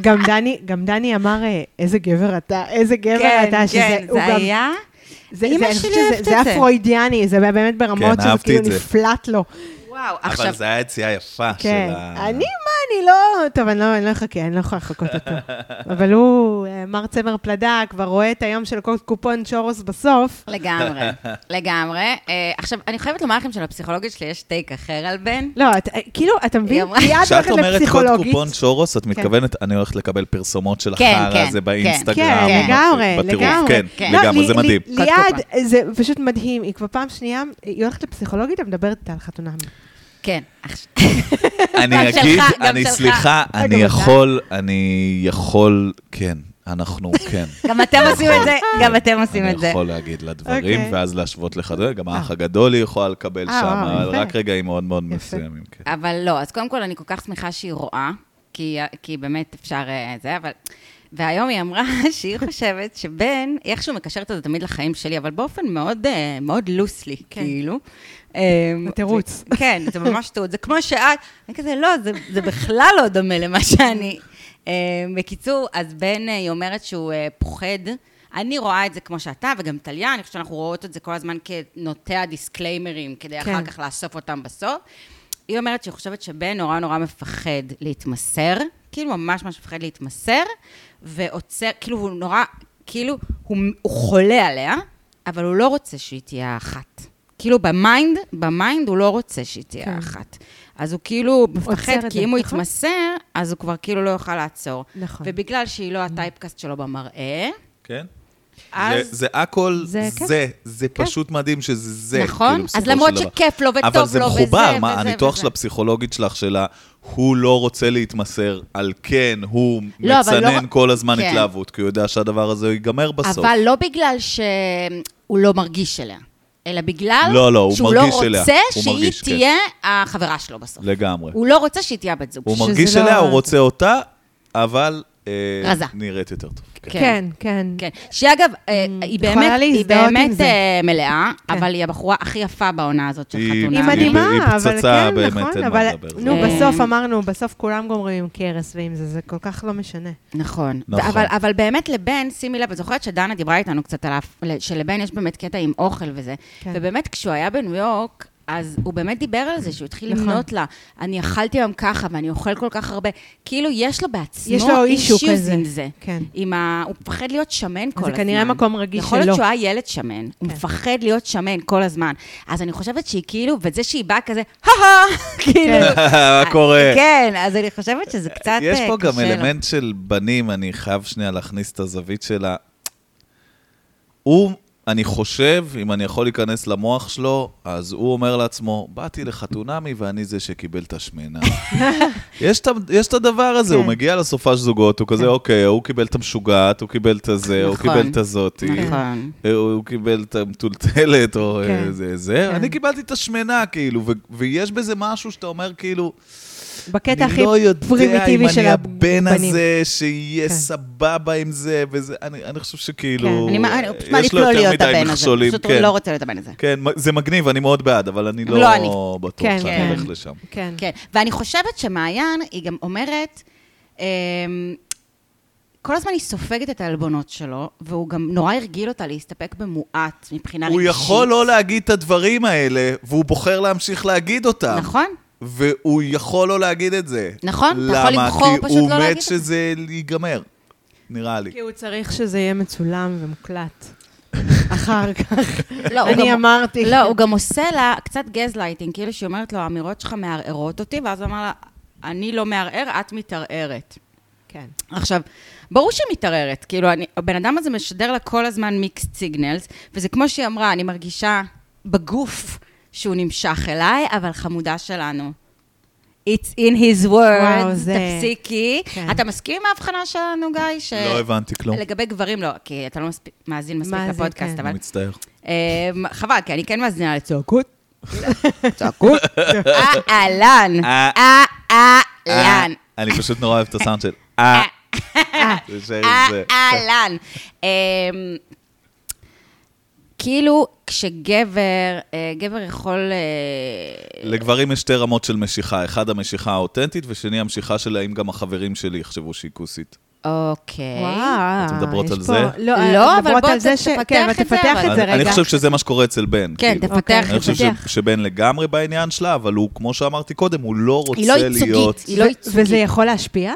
גם דני, גם דני אמר, "אה, איזה גבר אתה, איזה גבר
כן,
אתה, שזה,
כן,
הוא
זה
גם-
היה...
זה,
אמא
זה, אני
שלי
חושבת שזה-
אוהבת את
זה
זה.
היה פרוידיאני, זה היה באמת ברמות
כן,
שזה
אהבתי
כאילו
את זה.
נפלט לו.
וואו,
אבל
עכשיו...
זה היה יציאה יפה של
כן.
ה...
אני, מה, אני לא... טוב, אני לא אני לא אחכה, אני לא יכולה לחכות אותו. אבל הוא, אה, מר צמר פלדה, כבר רואה את היום של כל קופון שורוס בסוף.
לגמרי, לגמרי. אה, עכשיו, אני חייבת לומר לכם שלפסיכולוגית שלי יש טייק אחר על בן.
לא, את- אה, כאילו, אתה מבין?
היא אמרה-
מיד
כשאת
הולכת
אומרת קוד
לפסיכולוגית. כן.
קופון שורוס, את מתכוונת, אני הולכת לקבל פרסומות של
כן,
החרא
כן,
הזה
כן,
באינסטגרם.
כן,
או
לגמרי,
בטירוף.
לגמרי.
כן,
לא,
לגמרי,
לי-
זה
לי-
מדהים.
קוד
ליעד, אה, זה פשוט מדהים, היא כבר פעם שנייה, היא הולכת לפסיכולוגית ומדברת איתה על חתונה.
כן, עכשיו... גם
אני
שלך,
אגיד,
גם
אני
שלך.
סליחה,
אה,
אני
גם
יכול, אני יכול, כן, אנחנו, כן.
גם אתם עושים את זה, גם אתם עושים את
אני
זה.
יכול להגיד לה דברים,
אוקיי.
ואז להשוות לך, גם
אה.
האח הגדול היא יכולה לקבל
אה,
שם,
וואו, יפה.
רק רגעים מאוד מאוד
יפה.
מסוימים. כן.
אבל לא, אז קודם כל אני כל כך שמחה שהיא רואה, כי, כי באמת אפשר אה, זה, אבל... והיום היא אמרה שהיא חושבת שבן, היא איכשהו מקשרת את זה תמיד לחיים שלי, אבל באופן מאוד, אה, מאוד לוסלי,
כן.
כאילו. אמ,
זה
זה
תירוץ.
כן, זה ממש תירוץ. זה כמו שאת, אני כזה, לא, זה, זה בכלל לא דומה למה שאני. אה, בקיצור, אז בן, אה, היא אומרת שהוא אה, פוחד. אני רואה את זה כמו שאתה, וגם טליה, אני חושבת שאנחנו רואות את זה כל הזמן כנוטע דיסקליימרים, כדי
כן.
אחר כך לאסוף אותם בסוף. היא אומרת שהיא חושבת שבן נורא נורא מפחד להתמסר, כאילו ממש ממש מפחד להתמסר, ועוצר, כאילו הוא נורא, כאילו הוא, הוא חולה עליה, אבל הוא לא רוצה שהיא תהיה האחת. כאילו במיינד, במיינד הוא לא רוצה שהיא תהיה
כן.
האחת. אז הוא כאילו מפחד,
את זה,
כי אם הוא
נכון.
יתמסר, אז הוא כבר כאילו לא יוכל לעצור.
נכון.
ובגלל שהיא לא הטייפקאסט שלו במראה,
כן?
אז...
זה- זה הכל,
זה- כן.
זה, זה פשוט מדהים שזה זה.
נכון?
כאילו, בסופו
אז למרות
של דבר.
שכיף לו וטוב
אבל זה
לו
מחובר,
וזה
מה,
וזה
הניתוח
וזה.
של הפסיכולוגית שלך, שלה, הוא לא רוצה להתמסר, על כן הוא
לא, אבל לא-
מצנן כל הזמן
כן.
התלהבות, כי הוא יודע שהדבר הזה ייגמר בסוף.
אבל לא בגלל שהוא לא מרגיש אליה, אלא בגלל
לא, לא, הוא
שהוא
מרגיש
לא
אליה.
רוצה
הוא
שהיא
מרגיש, כן.
תהיה החברה שלו בסוף.
לגמרי.
הוא לא רוצה שהיא תהיה הבת זוג
הוא
שלו.
מרגיש
שזה
אליה,
לא-
הוא רוצה אותה, אבל... אה,
רזה.
נראית יותר טוב. כן.
כן.
כן, כן.
כן, שהיא אגב, אה, היא
יכולה
באמת, היא
להזדהות עם
באמת
זה.
אה, מלאה,
כן.
אבל היא הבחורה הכי יפה בעונה הזאת של
היא-
חתונה.
היא
היא
מדהימה,
ב- היא
אבל
פצצה,
כן,
באמת, אין
נכון,
מה
אבל
לדבר.
נו,
זה-
בסוף אמרנו, בסוף כולם גומרים עם קרס ועם זה, זה כל כך לא משנה.
נכון.
נכון.
אבל, אבל באמת לבן, שימי לב, את זוכרת שדנה דיברה איתנו קצת על ה... שלבן יש באמת קטע עם אוכל וזה. כן.
כן.
ובאמת, כשהוא היה בניו יורק, אז הוא באמת דיבר על זה, שהוא התחיל
נכון.
למנות לה, אני אכלתי היום ככה ואני אוכל כל כך הרבה. כאילו, יש לו בעצמו
יש לו אישו
issues
כזה.
עם זה.
כן.
עם ה... הוא מפחד להיות שמן כל הזמן.
כנראה מקום רגיש כן.
יכול
שלו.
להיות שהוא היה ילד שמן, הוא מפחד להיות שמן כל הזמן. אז אני חושבת שהיא כאילו, וזה שהיא באה כזה, הא-הא,
כן.
כאילו...
מה קורה?
כן, אז אני חושבת שזה קצת
יש
אה,
פה גם
קשה לו.
אלמנט של בנים, אני חייב שנייה להכניס את הזווית של ה... הוא, אני חושב, אם אני יכול להיכנס למוח שלו, אז הוא אומר לעצמו, באתי לחתונמי ואני זה שקיבל את השמנה. יש את ה- יש את הדבר הזה, הוא
כן.
מגיע לסופש זוגות, הוא כזה, אוקיי, הוא קיבל את המשוגעת, הוא קיבל את הזה, הוא
כן. נכון.
קיבל את הזאתי.
נכון.
אה, הוא קיבל את המטולטלת, או
כן.
אה, זה, זה.
כן.
אני קיבלתי את השמנה, כאילו, ו- ויש בזה משהו שאתה אומר, כאילו,
בקטע הכי
אני לא
פרימיטיבי
יודע אם
של
אני
הבנים.
הבן הזה שיהיה
כן.
סבבה עם זה, וזה, אני אני חושב
כן,
שכאילו,
אני מע- אני פשוט
יש
מעדיף
לו
לא
יותר
להיות
מדי
הבן הזה.
מכשולים.
פשוט
כן.
לא רוצה להיות הבן הזה.
כן, מ- זה מגניב, אני מאוד בעד, אבל אני לא,
לא אני.
בטוח
כן,
שאני
כן.
אלך לשם.
כן.
כן, ואני חושבת שמעיין, היא גם אומרת, אמ, כל הזמן היא סופגת את העלבונות שלו, והוא גם נורא הרגיל אותה להסתפק במועט מבחינה
הוא
רגשית.
יכול לא להגיד את הדברים האלה, והוא בוחר להמשיך להגיד אותם.
נכון?
והוא יכול לא להגיד את זה.
נכון, אתה יכול לבחור פשוט לא
למה? כי הוא
להגיד
מת
את זה.
שזה ייגמר, נראה לי.
כי הוא צריך שזה יהיה מצולם ומוקלט. אחר כך.
לא, הוא
אני
גם-
אמרתי.
לא, הוא גם עושה לה קצת גזלייטינג, כאילו שהיא אומרת לו, האמירות שלך מערערות אותי, ואז הוא אמר לה, אני לא מערער, את מתערערת.
כן.
עכשיו, ברור שהיא מתערערת, כאילו, אני, הבן אדם הזה משדר לה כל הזמן מיקס סיגנלס, וזה כמו שהיא אמרה, אני מרגישה בגוף שהוא נמשך אליי, אבל חמודה שלנו. It's in his
וואו,
words,
זה-
תפסיקי.
כן.
אתה מסכים עם ההבחנה שלנו, גיא? ש...
לא הבנתי כלום.
לגבי גברים לא, כי אתה לא מספיק, מאזין מספיק
מאזין,
לפודקאסט,
כן.
אבל...
אני מצטער.
אמ, חבל, כי אני כן מאזינה לצעקות. צעקות. אהלן.
אה. אה,
אהלן.
אני פשוט נורא אוהב את הסאונד של אה. תישאר עם
אה,
זה.
אהלן. אמ, כאילו, כשגבר, אה, גבר יכול... אה,
לגברים יש שתי רמות של משיכה, אחד המשיכה האותנטית, ושני המשיכה של האם גם החברים שלי יחשבו שהיא כוסית.
אוקיי.
וואו.
אתן מדברות
יש
על
פה-
זה?
לא,
לא, אבל
מדברות
בוא
על זה
ת-
ש-
תפתח
כן, אבל
את זה,
תפתח
אבל-
את זה
אני אני
רגע.
חושב שזה מה שקורה אצל בן.
כן,
כאילו.
תפתח,
אני חושב ש-
תפתח.
שבן לגמרי בעניין שלה, אבל הוא, כמו שאמרתי קודם, הוא לא
היא לא
רוצה
ייצוגית,
להיות...
היא לא
ו-
ייצוגית.
וזה יכול להשפיע?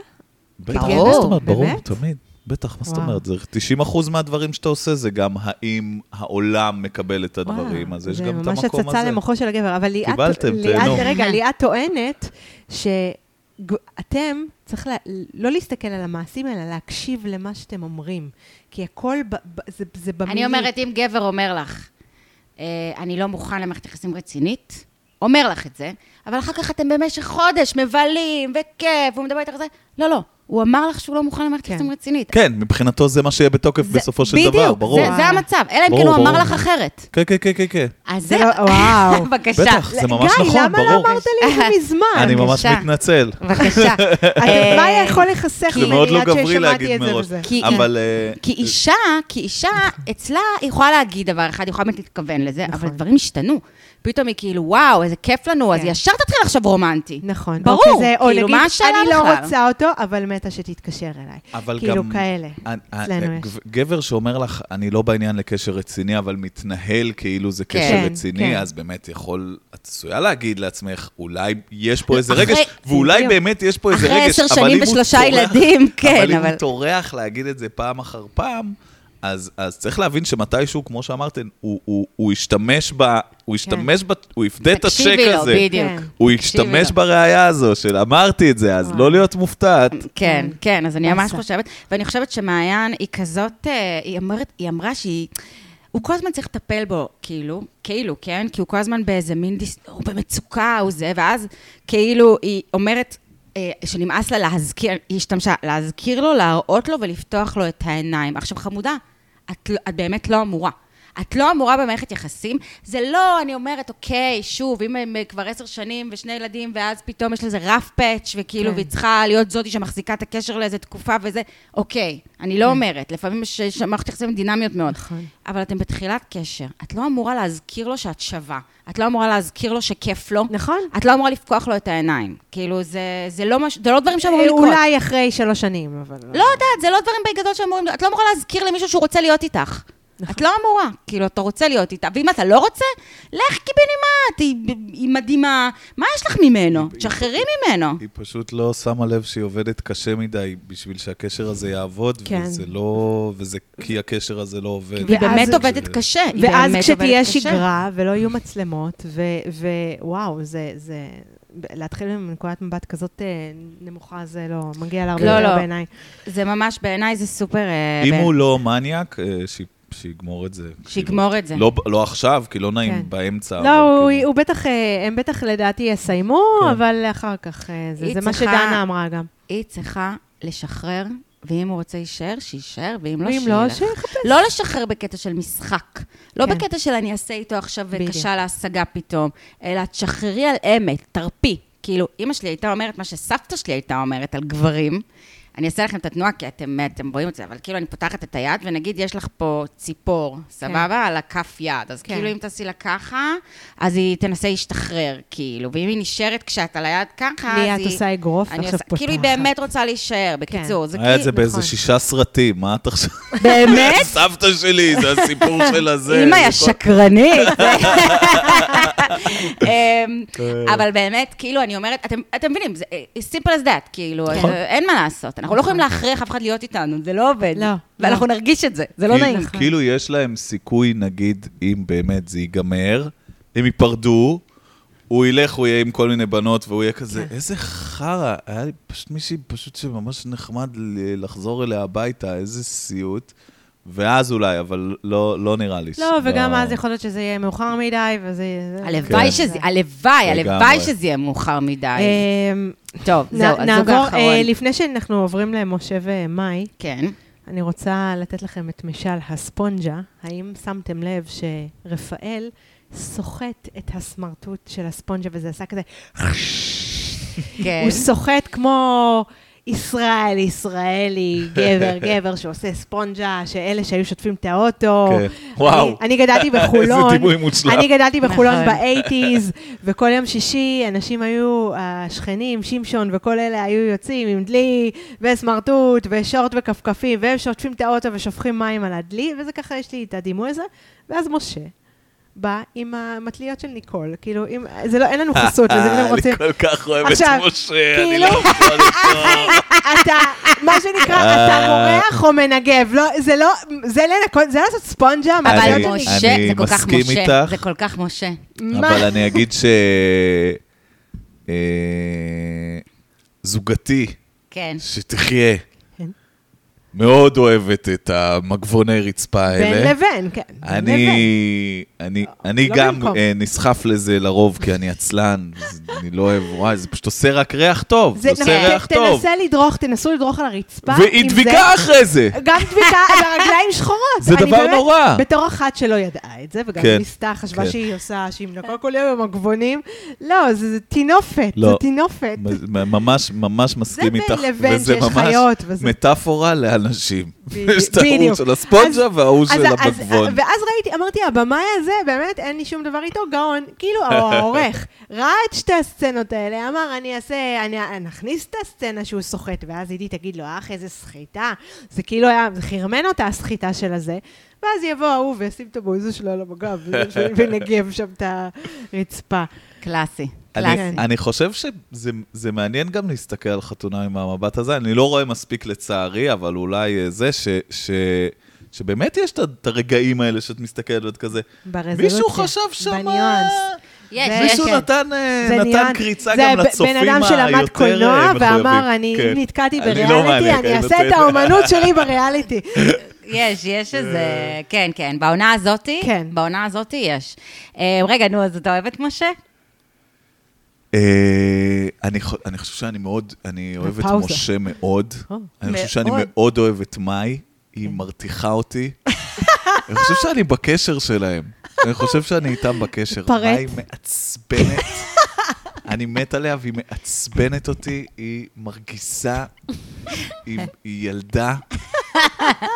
בטח,
ברור.
מה זאת אומרת? ברור,
באמת?
תמיד. בטח, מה זאת
וואו.
אומרת? זה 90% מהדברים שאתה עושה, זה גם האם העולם מקבל את הדברים,
וואו,
אז יש גם את
זה ממש
המקום הזה.
הצצה למוחו של הגבר. אבל ליאת,
קיבלתם,
ליאת-
תהנו.
רגע, ליאת טוענת שאתם צריך לה, לא להסתכל על המעשים, אלא להקשיב למה שאתם אומרים. כי הכל ב, ב, זה, זה במילים.
אני אומרת, אם גבר אומר לך, אה, אני לא מוכן למערכת יחסים רצינית, אומר לך את זה, אבל אחר כך אתם במשך חודש מבלים, וכיף, והוא מדבר איתך על זה, לא, לא, הוא אמר לך שהוא לא מוכן למערכת
כן.
יחסים רצינית.
כן, מבחינתו זה מה שיהיה בתוקף
זה-
בסופו של דבר, ברור.
בדיוק, זה- זה המצב, אלא אם כן
ברור,
הוא אמר
ברור.
לך אחרת.
כן, כן, כן, כן, כן.
אז
זה
זה...
לא- וואו.
בבקשה.
בטח, זה ממש
גיא,
נכון,
למה לא
ברור.
אמרת לי את זה מזמן?
אני ממש
בבקשה.
מתנצל.
בבקשה.
את- מה יכול להיחסך
זה מאוד לא
עד
גברי
ששמעתי
להגיד
את זה
מראש.
וזה?
כי-
אבל... אה,
כי אישה, כי אישה, אצלה, היא יכולה להגיד דבר אחד, היא יכולה באמת להתכוון לזה,
נכון.
אבל דברים השתנו. פתאום היא כאילו, וואו, איזה כיף לנו, אז
כן.
ישר תתחיל לחשוב רומנטי.
נכון.
ברור,
או כזה, או
כאילו,
נגיד,
מה השאלה
אני לא
בכלל?"
רוצה אותו, אבל מתה שתתקשר אליי.
אבל
כאילו,
גם...
כאלה.
אני-
אצלנו
אה,
יש.
גב- גבר שאומר לך, אני לא בעניין לקשר רציני, אבל מתנהל כאילו זה
כן,
קשר רציני,
כן.
אז באמת יכול, את עשויה להגיד לעצמך, אולי יש פה איזה
אחרי-
רגש, ואולי
בדיוק.
באמת יש פה איזה
אחרי
רגש,
עשר
אבל
שנים
אם הוא
ושלושה
טורח-
ילדים, כן,
אבל אם
אבל-
הוא טורח להגיד את זה פעם אחר פעם, אז, אז צריך להבין שמתישהו, כמו שאמרתם, הוא, הוא, הוא ישתמש ב... הוא ישתמש ב... הוא יפדה את הצ'ק הזה.
כן. תקשיבי לו, בדיוק.
כן.
הוא
תקשיבי
ישתמש
לו.
בראייה הזו של אמרתי את זה, אז
וואו.
לא להיות מופתעת.
כן, כן, אז אני ממש
באסה.
חושבת, ואני חושבת שמעיין היא כזאת, אה, היא, אומרת, היא אמרה שהיא, הוא כל הזמן צריך לטפל בו, כאילו, כאילו, כן? כי הוא כל הזמן באיזה מין דיס... הוא במצוקה, הוא זה, ואז כאילו היא אומרת אה, שנמאס לה להזכיר, היא השתמשה, להזכיר לו, להראות לו ולפתוח לו את העיניים. עכשיו, חמודה, את, לא- את באמת לא אמורה. את לא אמורה במערכת יחסים, זה לא, אני אומרת, אוקיי, שוב, אם הם אה, כבר עשר שנים ושני ילדים, ואז פתאום יש לזה רף פאץ', וכאילו,
כן.
כן. והיא צריכה להיות זאתי שמחזיקה את הקשר לאיזה תקופה וזה, אוקיי, אני לא אומרת, לפעמים יש יש מערכת יחסים דינמיות מאוד.
כן. נכון.
אבל אתם בתחילת קשר, את לא אמורה להזכיר לו שאת שווה, את לא אמורה להזכיר לו שכיף לו,
נכון.
את לא אמורה לפקוח לו את העיניים. כאילו, זה, זה, לא, מש... זה לא דברים שאמורים לקרות.
אה, אולי אחרי שלוש שנים, אבל...
לא יודעת, זה לא דברים בגדול שאמורים, את לא אמורה להזכיר למישהו שהוא רוצה להיות איתך. את לא אמורה, כאילו, אתה רוצה להיות איתה, ואם אתה לא רוצה, לך קיבינימט, היא, היא מדהימה, מה יש לך ממנו? תשחררי ממנו.
היא פשוט לא שמה לב שהיא עובדת קשה מדי בשביל שהקשר הזה יעבוד,
כן.
וזה לא... וזה כי הקשר הזה לא עובד.
היא
ואז-
באמת עובדת קשה, היא
ואז
באמת
כשתהיה
עובדת קשה.
שגרה ולא יהיו מצלמות, ו- ווואו, זה... זה... להתחיל מנקודת מבט כזאת אה, נמוכה, זה לא... מגיע לה הרבה
לא,
יותר
לא.
בעיניי.
זה ממש, בעיניי זה סופר... אה,
אם
בעיני-
הוא לא מניאק, אה, ש- שיגמור את זה.
שיגמור את זה.
לא- לא עכשיו, כי לא
כן.
נעים באמצע. אבל
לא, הוא-
כאילו-
הוא בטח, אה, הם בטח לדעתי יסיימו,
כן.
אבל אחר כך, אה, זה
היא
זה מה
צריכה-
שדנה אמרה גם.
היא צריכה לשחרר, ואם הוא רוצה יישאר, שיישאר, ואם לא,
ואם לא,
שילך.
שיחפש.
לא לשחרר בקטע של משחק. לא
כן.
בקטע של אני אעשה איתו עכשיו
בדיוק.
קשה להשגה פתאום, אלא תשחררי על אמת, תרפי. כאילו, אימא שלי הייתה אומרת מה שסבתא שלי הייתה אומרת על גברים. אני אעשה לכם את התנועה, כי אתם, אתם רואים את זה, אבל כאילו אני פותחת את היד, ונגיד יש לך פה ציפור, סבבה? על הכף יד. אז
כן.
כאילו אם תעשי לה ככה, אז היא תנסה להשתחרר, כאילו. ואם היא נשארת כשאת על היד ככה, אז
לי
היא...
את עושה אגרוף,
אני
ועכשיו
כאילו היא
פותחת.
באמת רוצה להישאר, בקיצור. זה
היה את
כאילו-
זה באיזה
נכון.
שישה סרטים, מה אתה חושב?
באמת?
סבתא שלי, זה הסיפור של הזה.
אימא
זה
יא
כל-
שקרנית. אמ,
כן.
אבל באמת, כאילו, אני אומרת, אתם- אתם מבינים, זה אה, it's simple as that, כאילו,
נכון.
אה, אין מה לעשות. אנחנו לא יכולים להכריח אף אחד להיות איתנו, זה לא עובד.
לא,
ואנחנו נרגיש את זה, זה לא
כאילו-
נעים.
כאילו יש להם סיכוי, נגיד, אם באמת זה ייגמר, הם ייפרדו, הוא ילך, הוא יהיה עם כל מיני בנות, והוא יהיה כזה,
כן.
איזה חרא, היה לי פשוט מישהי פשוט שממש נחמד ל- לחזור אליה הביתה, איזה סיוט. ואז אולי, אבל לא, לא נראה לי. ש-
לא, וגם אז יכול להיות שזה יהיה מאוחר מדי, וזה... זה-
הלוואי
כן.
שזה, הלוואי, הלוואי
לגמרי.
שזה יהיה מאוחר מדי.
אמ,
טוב,
נ-
זהו, הזוג
נעבור,
האחרון.
אה, לפני שאנחנו עוברים למשה ומאי,
כן.
אני רוצה לתת לכם את משל הספונג'ה. האם שמתם לב שרפאל סוחט את הסמרטוט של הספונג'ה, וזה עשה כזה...
כן.
הוא סוחט כמו ישראל, ישראלי, גבר, גבר שעושה ספונג'ה, שאלה שהיו שוטפים את האוטו.
כן. וואו.
אני- אני גדלתי בחולון.
איזה דימוי מוצלח.
אני גדלתי בחולון
נכון.
באייטיז, וכל יום שישי אנשים היו, השכנים, שמשון וכל אלה היו יוצאים עם דלי וסמרטוט ושורט וכפכפים, והם שוטפים את האוטו ושופכים מים על הדלי, וזה ככה יש לי את הדימוי הזה. ואז משה בא עם המטליות של ניקול, כאילו, אם, זה לא, אין לנו חסות לזה, אם אתם רוצים...
אני כל כך אוהב את
עכשיו,
משה, אני
כאילו-
לא יכול לשמוע.
אתה, מה שנקרא,
אה.
אתה מורח או מנגב, לא, זה לא, זה לנקות, זה לעשות ספונג'ה, מה
אבל
אני-
זה-
משה,
אני
זה כל כך
מסכים
משה.
איתך.
זה כל כך משה.
מה?
אבל אני אגיד ש... אה, זוגתי,
כן.
שתחיה,
כן.
מאוד אוהבת את המגבוני רצפה
בין
האלה.
לבין, כן. בין לבין.
אני, אני, אני
לא
גם
במקום.
אה, נסחף לזה לרוב, כי אני עצלן, אז אני לא אוהב, וואי, זה פשוט עושה רק ריח טוב, זה
זה נכון,
עושה ריח
ת-
טוב.
תנסה לדרוך, תנסו לדרוך על הרצפה. עם
והיא
זה.
דביקה אחרי זה.
גם דביקה, והרגליים שחורות.
זה
אני
דבר
באמת-
נורא.
בתור אחת שלא ידעה את זה, וגם
כן.
ניסתה, חשבה
כן.
שהיא עושה, שהיא מנקה כל יום עם הגבונים. לא, זה זה טינופת,
לא.
זה טינופת.
מ- ממש, ממש מסכים
בין
איתך.
לבין
וזה
שיש
ממש
חיות, וזה-
מטאפורה לאנשים.
בדיוק.
יש את ההוא
בדיוק.
של הספונג'ה וההוא
אז-
של
אז-
המגבון.
ואז ראיתי, אמרתי, הבמאי הזה, באמת, אין לי שום דבר איתו, גאון. כאילו, או העורך ראה את שתי הסצנות האלה, אמר, אני אעשה, אני נכניס את הסצנה שהוא סוחט, ואז עידית תגיד לו, אח, איזה סחיטה. זה כאילו היה, זה חרמן אותה הסחיטה של הזה. ואז יבוא ההוא וישים את הבויזו שלו על המגב, ונגב שם את הרצפה.
קלאסי.
אני,
כן.
קלאסי.
אני חושב שזה זה מעניין גם להסתכל על חתונה עם המבט הזה. אני לא רואה מספיק לצערי, אבל אולי אה, זה ש, ש, שבאמת יש את ה- את הרגעים האלה שאת מסתכלת ואת כזה.
ברזולוציה.
מישהו חשב שמה...
בניואנס.
יש,
זה-
יש,
מישהו
כן.
נתן, אה,
זה
נתן
ניואנס.
קריצה
זה
גם
ב-
לצופים היותר אה,
בן אדם שלמד קולנוע
מחויבים.
ואמר, אני
כן.
אם נתקעתי
אני לא
בריאליטי,
מעניין,
אני אעשה
רוצה
את האומנות שלי בריאליטי.
יש, יש איזה...
אה.
כן, כן. בעונה הזאתי?
כן.
בעונה הזאתי יש. אה, רגע, נו, אז אתה אוהב את משה?
אה, אני חו- אני חושב שאני מאוד, אני אוהב את
הפאוזה.
משה מאוד.
או,
אני חושב שאני
מאוד.
מאוד אוהב את מאי, היא מרתיחה אותי. אני חושב שאני בקשר שלהם. אני חושב שאני איתם בקשר.
התפרץ.
מאי מעצבנת. אני מת עליה והיא מעצבנת אותי, היא מרגיזה, היא, היא ילדה,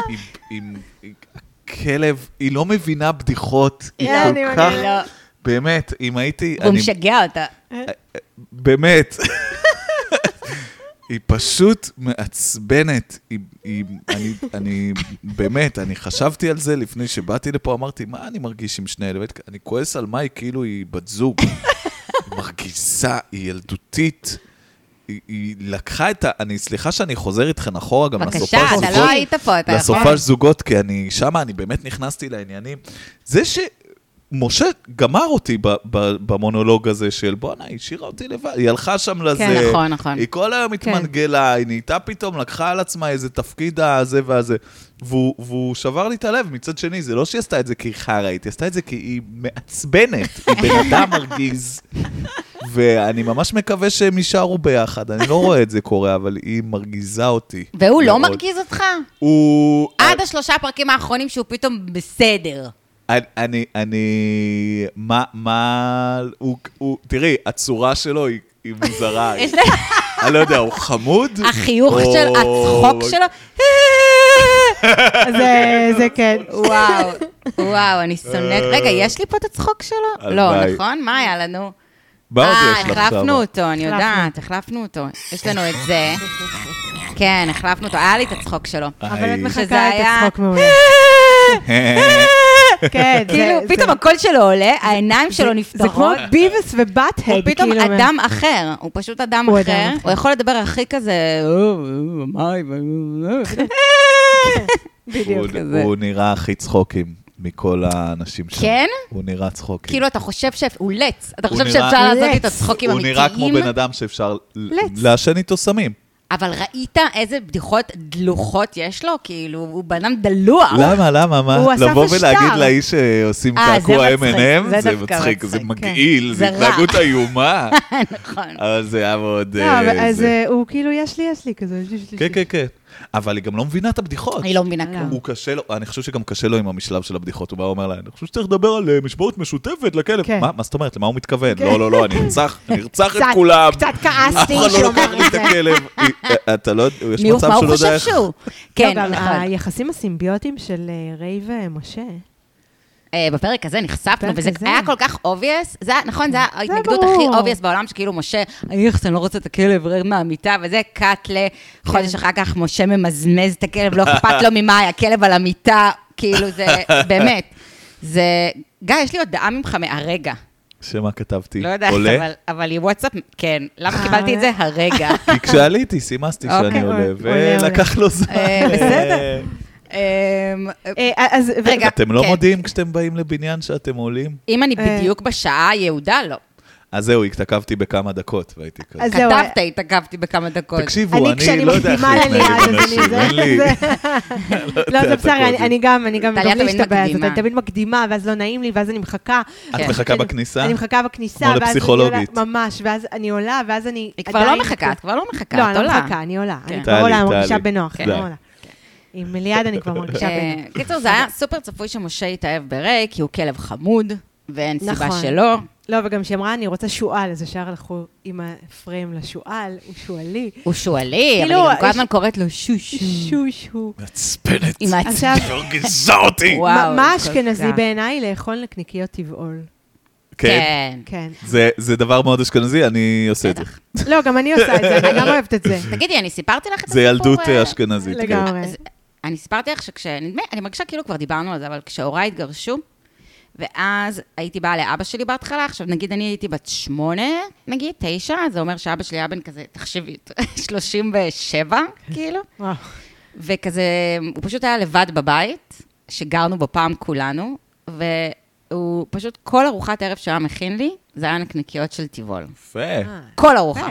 היא, היא, היא כלב, היא לא מבינה בדיחות, היא
לא, אני
כל כך,
כן, מבינה.
באמת, אם הייתי,
הוא
אני
משגע אותה.
באמת. היא פשוט מעצבנת. היא, היא, אני, אני, באמת, אני חשבתי על זה לפני שבאתי לפה, אמרתי, מה אני מרגיש עם שני אלה? באמת, אני כועס על מאי כאילו היא בת זוג. היא מרגיזה, היא ילדותית. היא, היא לקחה את ה... אני, סליחה שאני חוזר איתכן אחורה גם לסופש
בבקשה,
זוגות.
אתה לא היית פה, אתה יכול.
לסופש זוגות, כי אני, שמה אני באמת נכנסתי לעניינים. זה שמשה גמר אותי ב, ב, במונולוג הזה של בואנה, היא השאירה אותי לבד, היא הלכה שם לזה.
נכון, נכון.
היא כל היום
כן.
התמנגלה, היא נהייתה פתאום, לקחה על עצמה איזה תפקיד הזה והזה. והוא, והוא שבר לי את הלב, מצד שני, זה לא שהיא עשתה את זה כי היא חראית, היא עשתה את זה כי היא מעצבנת, היא בן אדם מרגיז. ואני ממש מקווה שהם יישארו ביחד, אני לא רואה את זה קורה, אבל היא מרגיזה אותי.
והוא לא
מאוד. אה.
מרגיז אותך?
הוא...
עד השלושה הפרקים האחרונים שהוא פתאום בסדר.
אני, אני, אני, מה, מה, הוא, הוא, תראי, הצורה שלו היא היא מוזרה.
יש לה-
אני לא יודע, הוא חמוד?
החיוך
או-
של, הצחוק שלו,
זה- זה כן.
וואו, וואו, אני שונאת. רגע, יש לי פה את הצחוק שלו? לא,
אה. הלוואי.
נכון? מה היה לנו?
מה עוד יש לך
אה,
עכשיו?
החלפנו אותו, אני יודעת, החלפנו אותו. יש לנו את זה. כן, החלפנו אותו, היה לי את הצחוק שללו.
אבל את
היי.
שזה
מחכה את
היה-
הצחוק מעולה. כן, זה-
כאילו,
זה-
פתאום הקול שלו עולה, העיניים שלו
זה כמו
נפתרות.
ביבס
הוא
ובט-הד,
פתאום
כאילו, מה-
אדם אחר, הוא פשוט אדם
הוא אדם
אחר.
אחר.
הוא יכול לדבר הכי כזה... "אה,
הוא-
כן?
בדיוק.
כזה.
הוא נראה הכי צחוקים מכל האנשים שם.
כן?
הוא נראה צחוקים.
כאילו, אתה חושב ש... הוא לץ. אתה
הוא
חושב
נראה-
שאפשר לעשות
לץ.
את הצחוקים
הוא נראה כמו
אמיתיים,
בן אדם שאפשר ל-
לץ.
לעשן איתו סמים.
אבל ראית איזה בדיחות דלוחות יש לו? כאילו, הוא בן אדם דלוח.
למה, למה, מה?
הוא אסף
לבוא
השטר.
ולהגיד לאיש שעושים
אה, זה
קעקוע
מצחיק,
M&M,
זה
זה
דווקא
מצחיק, זה
מצחיק, כן.
מגעיל, זה
זה רע.
התנהגות איומה.
נכון.
אבל זה היה מאוד...
לא,
אה,
אבל- אז
זה-
אה, הוא כאילו, יש לי, יש לי כזה. יש לי,
אה,
יש לי,
כן,
יש לי.
כן, כן. אבל היא גם לא מבינה את הבדיחות.
אני לא מבינה
לא.
כלום.
הוא קשה לו, אני חושב שגם קשה לו עם המשלב של הבדיחות. הוא בא ואומר לה, אני חושב שצריך לדבר על אה, משמעות משותפת לכלב.
כן.
מה מה זאת אומרת? למה הוא מתכוון?
כן.
לא, לא, לא, אני ארצח, אני ארצח את
קצת-
כולם.
קצת
אף
כעסתי
אחד לא
שהוא
לוקח
אמר את
לי את
זה.
הכלב. היא- אתה לא, יש
מי הוא-
מצב
מה
שהוא לא
הוא
יודע
חושב
איך...
שהוא?
כן,
כן, נכון.
היחסים הסימביוטיים של אה, ריי ומשה.
אה, בפרק הזה נחשפנו,
בפרק
וזה
הזה.
היה כל כך obvious, זה היה- נכון, זה היה ההתנגדות הכי
ברור.
obvious בעולם, שכאילו משה, איך, אני לא רוצה את הכלב, רר מהמיטה, וזה קאט
כן.
לחודש אחר כך, משה ממזמז את הכלב, לא אכפת לו ממאי, הכלב על המיטה, כאילו זה, באמת. זה, גיא, יש לי הודעה ממך מהרגע.
שמה כתבתי?
לא יודעת,
עולה?
אבל- אבל היא וואטסאפ, כן. למה
אה,
קיבלתי את זה הרגע?
כי כשעליתי, סימסתי שאני
אוקיי,
עולה,
עולה, עולה.
ולקח לו זמן.
אה, בסדר. אמ,
אה, אז... ו-
רגע.
אתם לא
כן.
מודיעים כשאתם באים לבניין שאתם עולים?
אם אני
אה.
בדיוק בשעה היהודה, לא.
אז זהו, התעכבתי בכמה דקות, והייתי כזה.
אז זהו, אה.
כתבת, התעכבתי בכמה דקות.
אני,
תקשיבו, אני
כשאני
לא יודע איך
מקדימה לליעד,
להתנהג
אז
עם
אני
אנשים,
זה-
אין לי...
לא,
אתה
זה בסדר, אני-
קודם.
אני גם, אני גם, לא
טליה
גם לי
תמיד
יש את הבעיה הזאת,
מקדימה.
אני תמיד מקדימה, ואז לא נעים לי, ואז אני מחכה.
את
כן.
מחכה בכניסה?
אני מחכה בכניסה,
כמו
ואז אני
לפסיכולוגית.
עולה- ממש, ואז אני עולה, ואז אני...
היא כבר
עדיין-
לא מחכה, את כבר לא מחכה,
לא,
את
אני לא
עולה.
מחכה, אני עולה.
כן.
אני כבר
טלי,
עולה,
טלי.
מרגישה בנוח, אני
די.
עולה. עם ליעד אני כבר מרגישה
אה,
בנוח.
קיצור, זה היה סופר צפוי שמשה יתאהב בריי, כי הוא כלב חמוד, ואין סיבה
נכון.
שלא.
לא, וגם כשהיא אמרה, אני רוצה שועל, אז ישר הלכו עם הפריים לשועל, הוא שועלי.
הוא שועלי, אבל
כאילו,
היא גם כל
יש-
הזמן קוראת לו כן. שושו.
שו שו.
מעצבנת.
היא מעצבנת.
עכשיו,
לא גיזע אותי.
וואו.
מה מה
כל
אשכנזי
כך.
בעיניי לאכול נקניקיות טבעול?
כן.
כן.
כן.
זה- זה דבר מאוד אשכנזי, אני עושה את זה.
בטח.
לא, גם אני עושה את זה, אני גם אוהבת את זה.
תגידי, אני סיפרתי לך את
זה
הסיפור?
ילדות
אה,
אה, אשכנזית. כן.
לגמרי.
אז אני סיפרתי לך שכש... נדמה, אני מרגישה כאילו כבר דיברנו על זה, אבל כשהוריי התגרשו, ואז הייתי באה לאבא שלי בהתחלה, עכשיו נגיד אני הייתי בת שמונה, נגיד תשע, זה אומר שאבא שלי היה בן כזה, תחשבי, 37, כאילו,
וואו.
וכזה, הוא פשוט היה לבד בבית, שגרנו בו פעם כולנו, והוא פשוט, כל ארוחת ערב שהוא היה מכין לי, זה היה נקניקיות של טבעול.
יפה.
כל ארוחה.
אה.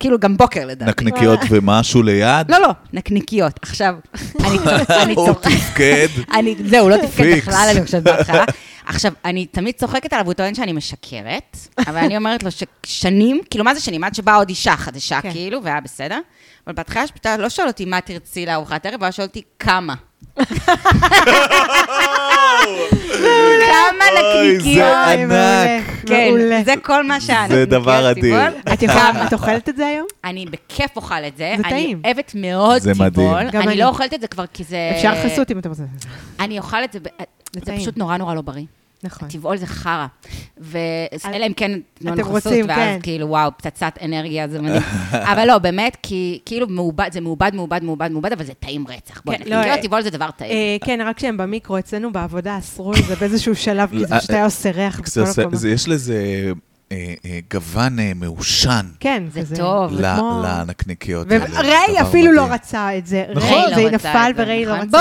כאילו, גם בוקר לדעתי.
נקניקיות ומשהו ליד?
לא, לא, נקניקיות. עכשיו, אני צוחקת, אני
הוא
צוחקת.
תפקד.
אני, זהו, לא תפקד
פיקס.
בכלל, אני חושבת בהתחלה. עכשיו, אני תמיד צוחקת עליו, הוא טוען שאני משקרת, אבל אני אומרת לו ששנים, כאילו, מה זה שנים? עד שבאה עוד אישה חדשה,
כן.
כאילו, והיה בסדר. אבל בהתחלה שפתאום לא שואל אותי מה תרצי לארוחת ערב, הוא שואל אותי כמה. כמה
אוי,
נקניקיות.
זה ענק.
כן,
מעולה.
זה כל מה שהיה.
זה
נקניקיות
דבר אדיר.
טבעול.
את יכולה, את אוכלת את זה היום?
אני בכיף אוכל את זה.
זה טעים.
אני אוהבת מאוד
זה
טבעול.
מדהים.
גם
אני
אני.
לא אוכלת את זה כבר כי זה...
אפשר חסות אם אתה רוצה.
אני אוכל את זה, ב- זה
זה טעים.
פשוט נורא נורא לא בריא.
נכון.
טבעול זה חרא. ואלא אם כן תנו
אתם
לנו חסות,
רוצים, כן.
ואז כאילו, וואו, פצצת אנרגיה, זה מדהים. אבל לא, באמת, כי כאילו מעובד, זה מעובד, מעובד, מעובד, מעובד, אבל זה טעים רצח. בואי,
כן, לא,
נקרא
אה,
טבעול זה דבר טעים.
אה, כן, רק כשהם במיקרו, אצלנו בעבודה אסרו את זה באיזשהו שלב, כי זה פשוט היה עושה ריח
אה, זה
בכל
עושה-
הקומה.
זה- יש לזה אה, אה, גוון אה, מעושן
כן,
זה
כזה.
טוב.
זה
ל-
כמו-
לנקניקיות. האלה. זה
וריי
דבר
אפילו לא
מדהים.
רצה את זה.
נכון.
ריי
ריי,
לא
זה
רצה את
נפל וריי לא
נכון.
רצה. את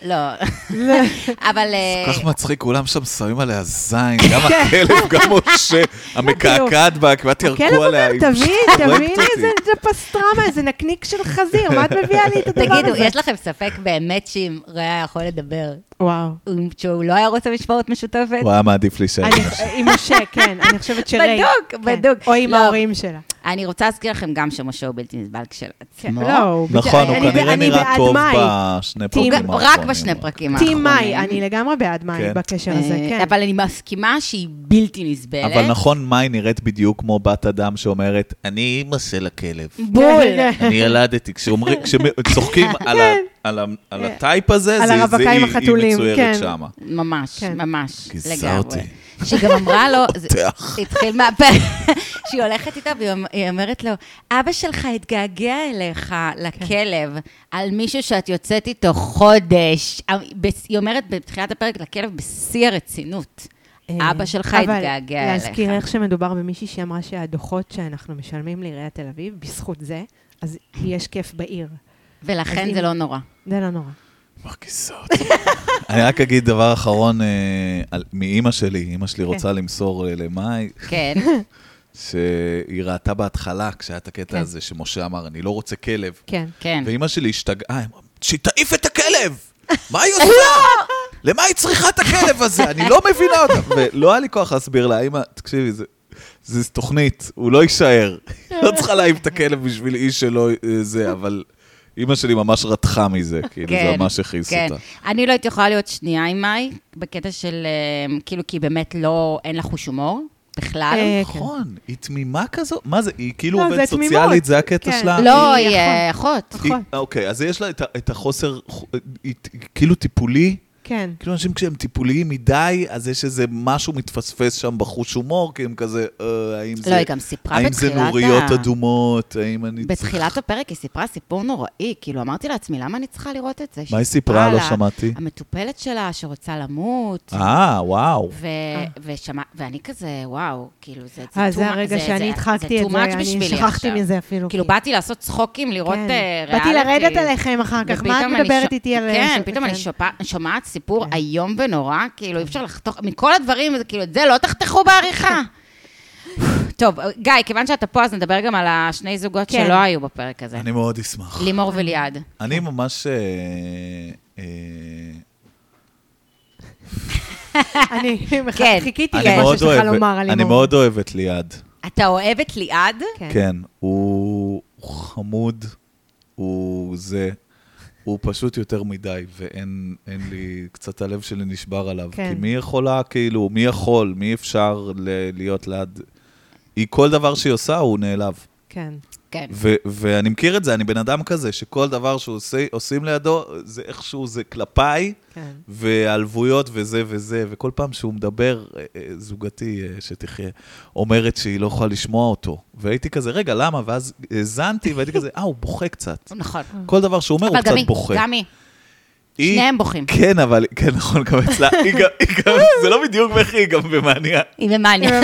זה.
בורי, לא. אבל... אה,
כל כך מצחיק, כולם שם שמים עליה זין, גם הכלב, גם משה, המקעקעת בה, כמעט
כן. הכלב
ירקו עליה.
אומר,
היא
כן, לא תביאי,
הורגת
תביאי
אותי."
איזה זה פסטרמה, איזה נקניק של חזיר, מה את מביאה לי את הדבר הזה?
תגידו, יש לכם ספק באמת שאם ריאה יכול לדבר,
וואו.
שהוא לא היה רוצה משמורת משותפת.
הוא היה מעדיף להישאר עם
אני-
נשים.
עם משה, כן, אני חושבת שריי.
בדוק,
כן.
בדוק.
או עם
לא.
ההורים שלה.
אני רוצה להזכיר לכם גם שמשה הוא בלתי נסבל כשלעצמו.
לא, הוא-
נכון, הוא
אני-
כנראה
אני
נראה
בעד
טוב
מאי. טים-
בשני פרקים
גם-
האחרונים.
רק בשני פרקים
טים
האחרונים.
מאי, אני לגמרי בעד מאי
נכון. כן.
בקשר
אה,
הזה, כן.
אבל אני מסכימה שהיא בלתי נסבלת.
אבל נכון, מאי נראית בדיוק כמו בת אדם שאומרת, אני אימא של הכלב.
בול. אה,
כן, כן.
אני ילדתי. כשאומרים, כשצוחקים על ה- על ה- על הטייפ הזה,
אה, על
זה- זה-
הרווקה עם
היא היא
החתולים, כן.
מצוירת שמה.
ממש,
כן.
ממש,
כיסה
לגמרי.
אותי.
שהיא גם אמרה לו, זה-
פותח.
זה התחיל מהפה, שהיא הולכת איתו והיא אומ- היא אומרת לו, אבא שלך התגעגע אליך,
כן.
לכלב, על מישהו שאת יוצאת איתו חודש. אמ, בס- היא אומרת בתחילת הפרק לכלב בשיא הרצינות.
אה,
אבא שלך
אבל
התגעגע אליך.
להזכיר איך שמדובר במישהי שאמרה שהדוחות שאנחנו משלמים לעיריית תל אביב, בזכות זה, אז יש כיף בעיר.
ולכן
אז
זה
אם-
לא נורא.
זה לא נורא.
מרגיזה אותי. אני רק אגיד דבר אחרון אה, על- מאימא שלי. אימא שלי רוצה למסור אה, למאי,
כן,
שהיא ראתה בהתחלה, כשהיה את הקטע
כן.
הזה, שמשה אמר, אני לא רוצה כלב.
כן.
כן.
ואימא שלי השתגעה, היא אמרה, שהיא תעיף את הכלב! מה היא עושה?
לא!
למה היא צריכה את הכלב הזה? אני לא מבינה אותה. ולא היה לי כוח להסביר לה, אימא, תקשיבי, זה... זו תוכנית, הוא לא יישאר. לא צריכה להעיף את הכלב בשביל איש שלא אה, זה, אבל אימא שלי ממש רתחה מזה, כאילו, זה ממש הכעיס
כן.
אותה.
אני לא הייתי יכולה להיות שנייה עם מאי, בקטע של, אה, כאילו, כי היא באמת לא, אין לה חוש הומור, בכלל.
אה,
נכון, היא תמימה כזו? מה זה, היא כאילו
לא, זה
עובדת
תמימות.
סוציאלית, זה הקטע
כן.
שלה?
לא,
היא
היא אה, אחות.
היא-
נכון.
אוקיי, אז יש לה את ה- את החוסר, היא ת- היא כאילו טיפולי,
כן.
כאילו אנשים כשהם טיפוליים מדי, אז יש איזה משהו מתפספס שם בחוש הומור, כי הם כזה, אה, האם זה...
לא, היא גם סיפרה
האם זה
בתחילת ה-
נוריות אדומות, האם אני... צריך-
בתחילת הפרק היא סיפרה סיפור נוראי, כאילו אמרתי לעצמי, למה אני צריכה לראות את זה?
מה היא סיפרה? לא
על ה-
שמעתי.
המטופלת שלה שרוצה למות,
אה, וואו.
ו- ושמע- ואני כזה, וואו, כאילו זה...
אה,
too
זה
much-
הרגע שאני הדחקתי את
too much
זה, אני
בשבילי
שכחתי
עכשיו.
מזה אפילו.
כאילו
כי-
באתי לעשות צחוקים, לראות
כן.
אה, ריאליטי.
באתי לרדת עליכם אחר כך, מה את
ופתאום אני
מדברת
ש-
איתי על... אה,
כן,
ש-
פתאום אני שופע- שומעת סיפור
כן.
איום ונורא, כאילו, אי אפשר לחתוך, מכל הדברים, זה כאילו, את זה לא תחתכו בעריכה. טוב, גיא, כיוון שאתה פה, אז נדבר גם על השני זוגות
כן.
שלא היו בפרק הזה.
אני מאוד אשמח.
לימור וליעד.
אני ממש... אה, אה,
אני מח-
כן.
חיכיתי
אני
למה
מאוד
שיש לך
אוהב-
לומר על
אני
לימור.
מאוד אוהב את ליעד.
אתה אוהב את ליעד?
כן, הוא חמוד, הוא זה, הוא פשוט יותר מדי, ואין אין לי, קצת הלב שלי נשבר עליו.
כן.
כן. כי מי יכולה, כאילו, מי יכול, מי אפשר ל- להיות ליד... היא כל דבר שהיא עושה, הוא נעלב.
כן.
כן.
ו- ואני מכיר את זה, אני בן אדם כזה, שכל דבר שעושים לידו, זה איכשהו, זה כלפיי,
כן.
והעלבויות וזה וזה, וכל פעם שהוא מדבר, אה, אה, זוגתי אה, שתחיה, אומרת שהיא לא יכולה לשמוע אותו. והייתי כזה, רגע, למה? ואז האזנתי, והייתי כזה, אה, הוא בוכה קצת.
נכון.
כל דבר שהוא אומר, הוא
אבל גם
קצת
היא,
בוכה.
גם היא.
היא-
שניהם בוכים.
כן, אבל, כן, נכון, גם אצלה, היא גם- היא גם, זה לא בדיוק בכי, היא גם במאניה.
היא ממאניה.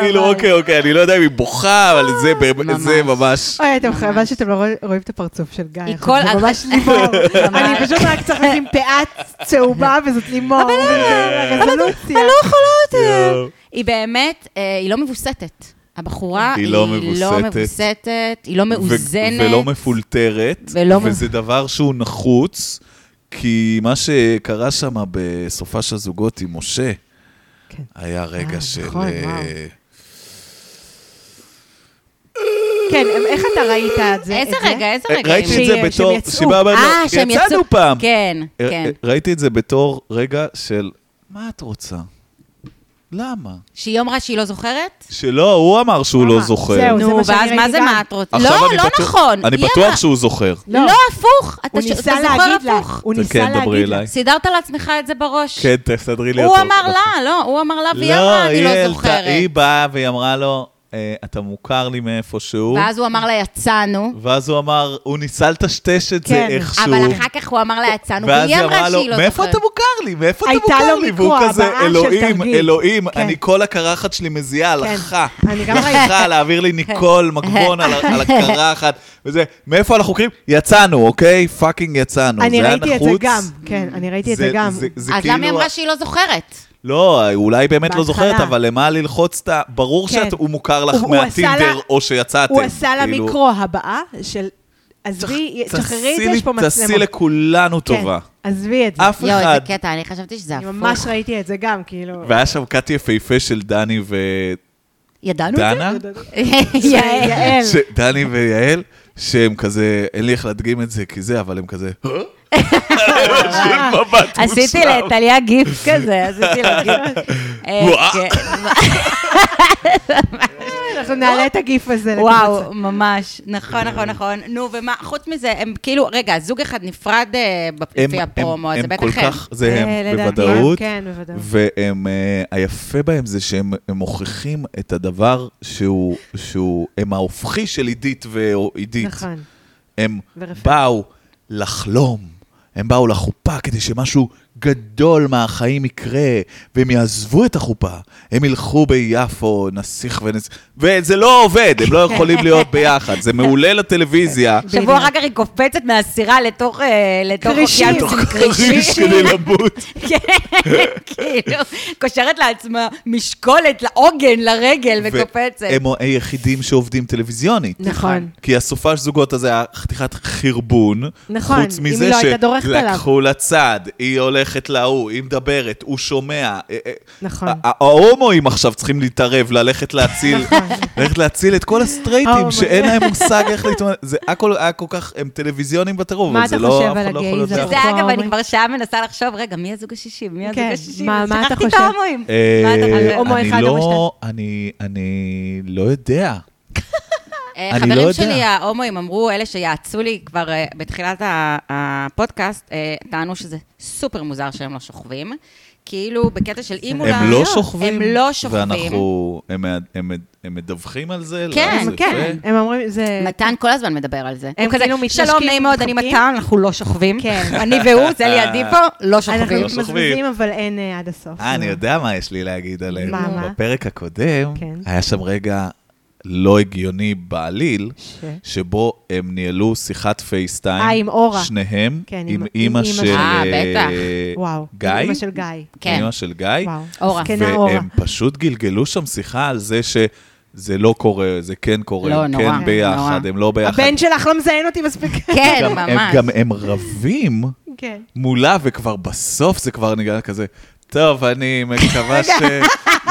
כאילו, אוקיי, אוקיי, אני לא יודע אם היא בוכה, אבל זה באמת- זה ממש...
אוי, אתם חייבים שאתם לא רוא- רואים את הפרצוף של גיא.
היא
עכשיו,
כל-
זה ממש לימור. אני פשוט רק צריך לשים פאה צהובה וזאת לימור. אבל
אה,
למה? רזולוציה.
יואו.
היא באמת, אה, היא לא מבוסתת. הבחורה
היא
היא לא
לא מבוסתת.
מבוסתת, היא לא מאוזנת.
ו- ולא מפולטרת,
ולא מ-
וזה דבר שהוא נחוץ, כי מה שקרה שם בסופה של זוגות עם משה,
כן.
היה רגע
אה,
של...
נכון,
אה,
וואו. כן, איך אתה ראית את זה?
איזה
את זה?
רגע, איזה
אה,
רגע.
ראיתי
היא-
את
ש-
זה
שהם
בתור...
יצאו.
שבאה ואמרה,
אה, שהם יצאו.
יצאנו פעם.
כן,
אה, אה,
כן.
ראיתי את זה בתור רגע של, מה את רוצה? למה?
שהיא אמרה שהיא לא זוכרת?
שלא, הוא אמר שהוא לא
למה?
זוכר.
זהו, זה
נו,
מה שאני
ואז מה
ראיתי
זה
גם.
מה את רוצה?
עכשיו
לא,
אני
לא
בטוח-
נכון.
אני
היא
בטוח
אמרה-
שהוא זוכר.
לא.
לא, הפוך. אתה
הוא
ש- אתה
ניסה
זוכר
להגיד לך,
הפוך.
הוא
כן,
ניסה
דברי
להגיד
אליי.
לך.
סידרת לעצמך את זה בראש.
כן, תסדרי לי
הוא
אותו. נכון.
אמר לה, לא, הוא אמר לה, והיא אמרה, אני
היא
לא
העלתה-
זוכרת.
היא באה והיא אמרה לו, "אה, אתה מוכר לי מאיפשהו,
ואז הוא אמר לה, יצאנו.
ואז הוא אמר, הוא ניסה לטשטש את זה
כן.
איכשהו.
אבל אחר כך הוא אמר לה, יצאנו,
ואז
והיא
היא
אמרה
אמרה לו,
שהיא לא זוכרת.
מאיפה אתה מוכר לי? מאיפה אתה
הייתה
מוכר
לו
לי?
מיקרו,
והוא כזה,
הבעה של
אלוהים,
תרגיל."
אלוהים,
כן.
אני כל הקרחת שלי מזיעה על
כן.
החא.
אני גם ראיתי. כן.
לחא, להעביר לי ניקול מגבון על ה- על הקרחת. וזה, מאיפה אנחנו חוקרים? יצאנו, אוקיי? פאקינג יצאנו.
אני
זה היה
ראיתי את זה
נחוץ.
גם, כן, אני ראיתי את זה גם.
זה
אז למה היא
כאילו-
אמרה שהיא לא זוכרת?
לא, אולי באמת לא
בהתחלה.
זוכרת, אבל למה ללחוץ את ה... ברור
כן.
שהוא מוכר
הוא-
לך
הוא עשה לה-
מהטינדר או שיצאתם.
הוא עשה לה
כאילו,
מיקרו הבעה של עזבי,
תעשי
שחררי את זה,
לי-
יש פה מצלמות.
תעשי לכולנו
כן,
טובה.
עזבי את זה.
אף
יואו,
אחד.
לא, איזה קטע, אני חשבתי שזה
אני
הפוך.
ממש ראיתי את זה גם, כאילו.
והיה שם קאט יפהפה של דני ודנה,
ידענו את זה? יעל.
יעל.
ש... דני ויעל, שהם כזה, אין לי איך להדגים את זה כי זה, אבל הם כזה, "אה?" של מבט
עשיתי
מושלם.
לטליה גיף כזה, עשיתי לה גיף. אה,
וואו.
כן,
אנחנו נעלה את הגיף הזה.
לא. וואו, ממש. נכון, נכון, נכון. נו, ומה, חוץ מזה, הם כאילו, רגע, זוג אחד נפרד אה, בפ-
הם-
לפי
הם-
הפרומו,
הם
זה בטח
כל
הם.
כך- זה
אה,
הם,
לדעתי,
בוודאות.
כן, בוודאות.
והם, אה, היפה בהם זה שהם הם מוכיחים את הדבר שהוא, שהוא, הם ההופכי של עידית ועידית.
נכון.
הם
ורפאל.
באו לחלום, הם באו לחופה כדי שמשהו גדול מהחיים יקרה, והם יעזבו את החופה, הם ילכו ביפו, נסיך ונס... וזה לא עובד, הם לא
כן.
יכולים להיות ביחד, זה מעולה לטלוויזיה.
שבוע אחר כך היא קופצת מהסירה לתוך אה, לתוך
כרישים.
אוקיינוס כאילו,
בתוך
עם
כריש
כרישים.
כדי למות.
כאילו, קושרת לעצמה משקולת לעוגן, לרגל, וקופצת.
והם היחידים שעובדים טלוויזיונית.
נכון.
כי הסופש זוגות הזה היה חתיכת חרבון.
נכון,
חוץ
אם
מזה
היא לא הייתה דורכת עליו.
שלקחו לצד, היא הולכת להוא, היא מדברת, הוא שומע. אה, אה,
נכון.
ה- ה- ההומואים עכשיו צריכים להתערב, ללכת להציל,
נכון.
ללכת להציל את כל הסטרייטים
ההומואים.
שאין להם מושג איך להתמודד. זה הכל היה כל כך, הם טלוויזיונים בטרור,
מה
אבל זה
אתה
לא,
חושב
אף אחד
על
לא יכול להיות
הגייז?
זה.
זה
אפרופו
אגב, אני
ההומואים.
כבר שעה מנסה לחשוב, רגע, מי הזוג השישים? מי הזוג
כן,
השישים?
מה- מה אתה
שכחתי את
חושב?
ההומואים.
אה,
מה אתה חושב?
הומו
אני
אחד, הומו
לא- אני- אני לא יודע.
אה,
אני לא
חברים
יודע.
שלי ההומואים אמרו, אלה שיעצו לי כבר אה, בתחילת ה- הפודקאסט, אה, טענו שזה סופר מוזר שהם לא שוכבים. כאילו, בקטע של אם אולי...
הם לא שוכבים.
הם לא שוכבים.
ואנחנו, הם, הם, הם, הם מדווחים על זה?
כן,
לא, זה
כן,
יפה.
הם אומרים, זה...
מתן כל הזמן מדבר על זה.
הם
הוא כזה,
כאילו מתנשקים,
שלום, נעים מאוד, אני
מתחבקים."
מתן, אנחנו לא שוכבים.
כן.
אני והוא, זה לידי פה, לא
אנחנו
שוכבים.
לא שוכבים.
מתמזמזים, אבל אין אה, עד הסוף.
אה, אני יודע מה יש לי להגיד עליהם.
מה, מה?
בפרק הקודם,
כן.
היה שם רגע לא הגיוני בעליל,
ש-
שבו הם ניהלו שיחת פייסטיים.
אה, עם אורה.
שניהם,
כן, עם-
עם
עם
אימא
אימא
של...
של-
אה, בטח.
וואו.
גיא?
אימא של גיא.
כן.
אימא של גיא.
וואו. כן,
אורה.
זקנה אורה.
והם פשוט גלגלו שם שיחה על זה ש... זה לא קורה, זה כן קורה,
לא,
הם
נורא,
כן ביחד,
נורא.
הם לא ביחד.
הבן שלך לא מזיין אותי מספיק.
כן,
גם- הם-
ממש.
גם הם רבים.
כן.
מולה, וכבר בסוף זה כבר נגמר כזה, טוב, אני מקווה ש...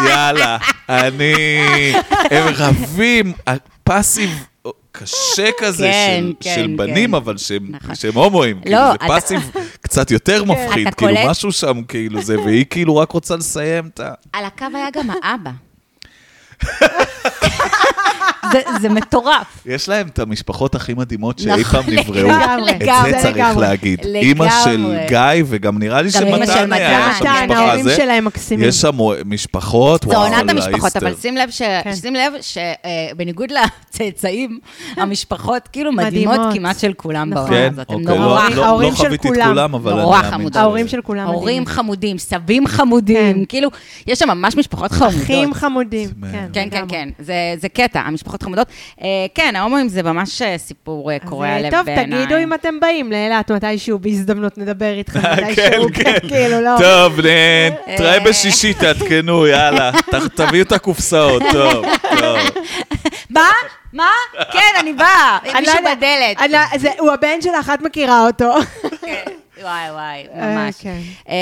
יאללה, אני... הם רבים, פאסיב קשה כזה
כן,
של,
כן,
של בנים,
כן.
אבל שהם,
נכון.
שהם הומואים. כאילו,
לא,
זה
אתה- כן,
פאסיב קצת יותר מפחיד,
אתה
כאילו,
קולט?
משהו שם, כאילו, זה, והיא כאילו רק רוצה לסיים את ה...
על הקו היה גם האבא. זה, זה מטורף.
יש להם את המשפחות הכי מדהימות שאי
נכון,
פעם נבראו.
לגמרי,
את
לגמרי.
זה צריך
לגמרי.
להגיד.
לגמרי.
אימא של גיא, וגם נראה לי
גם אימא של
שמתן היה
מתן,
שם
מתן,
משפחה.
ההורים
זה-
שלהם מקסימים.
יש שם משפחות,
זו
וואו,
עונת
על
המשפחות,
האיסטר.
אבל שים לב, ש...
כן.
שים לב שבניגוד לצאצאים, המשפחות כאילו מדהימות
כן. מדהימות.
כמעט של כולם
נכון.
בעונה
כן,
הזאת. הם
אוקיי, לא-
נורא
לא-
חמודים.
ההורים
לא
של
חוויתי את
כולם.
כולם, אבל אני
נורא
מאמין
חמודים.
שזה-
ההורים של כולם מדהימים.
הורים חמודים, סבים חמודים,
כן.
כאילו, יש שם ממש משפחות חמודות.
אחים חמודים.
זה
כן,
כן, כן,
לגמרי.
כן, זה, זה קטע, המשפחות חמודות. אה, כן, ההומואים זה ממש אה, סיפור אה,
אז,
קורע
אה,
לב
טוב,
בעיניי.
תגידו אם אתם באים לאילת מתישהו, בהזדמנות נדבר איתך
כן,
מתישהו,
כן.
כאילו, לא.
טוב, נ- תראה בשישי, תעדכנו, יאללה. ת- תביאו את הקופסאות, טוב, טוב.
בא? מה? כן, אני באה.
אני לא
מישהו
יודעת,
בדלת.
אני לא- זה- הוא הבן שלך, את מכירה אותו.
כן. וואי, וואי,
אה,
ממש.
כן.
אה,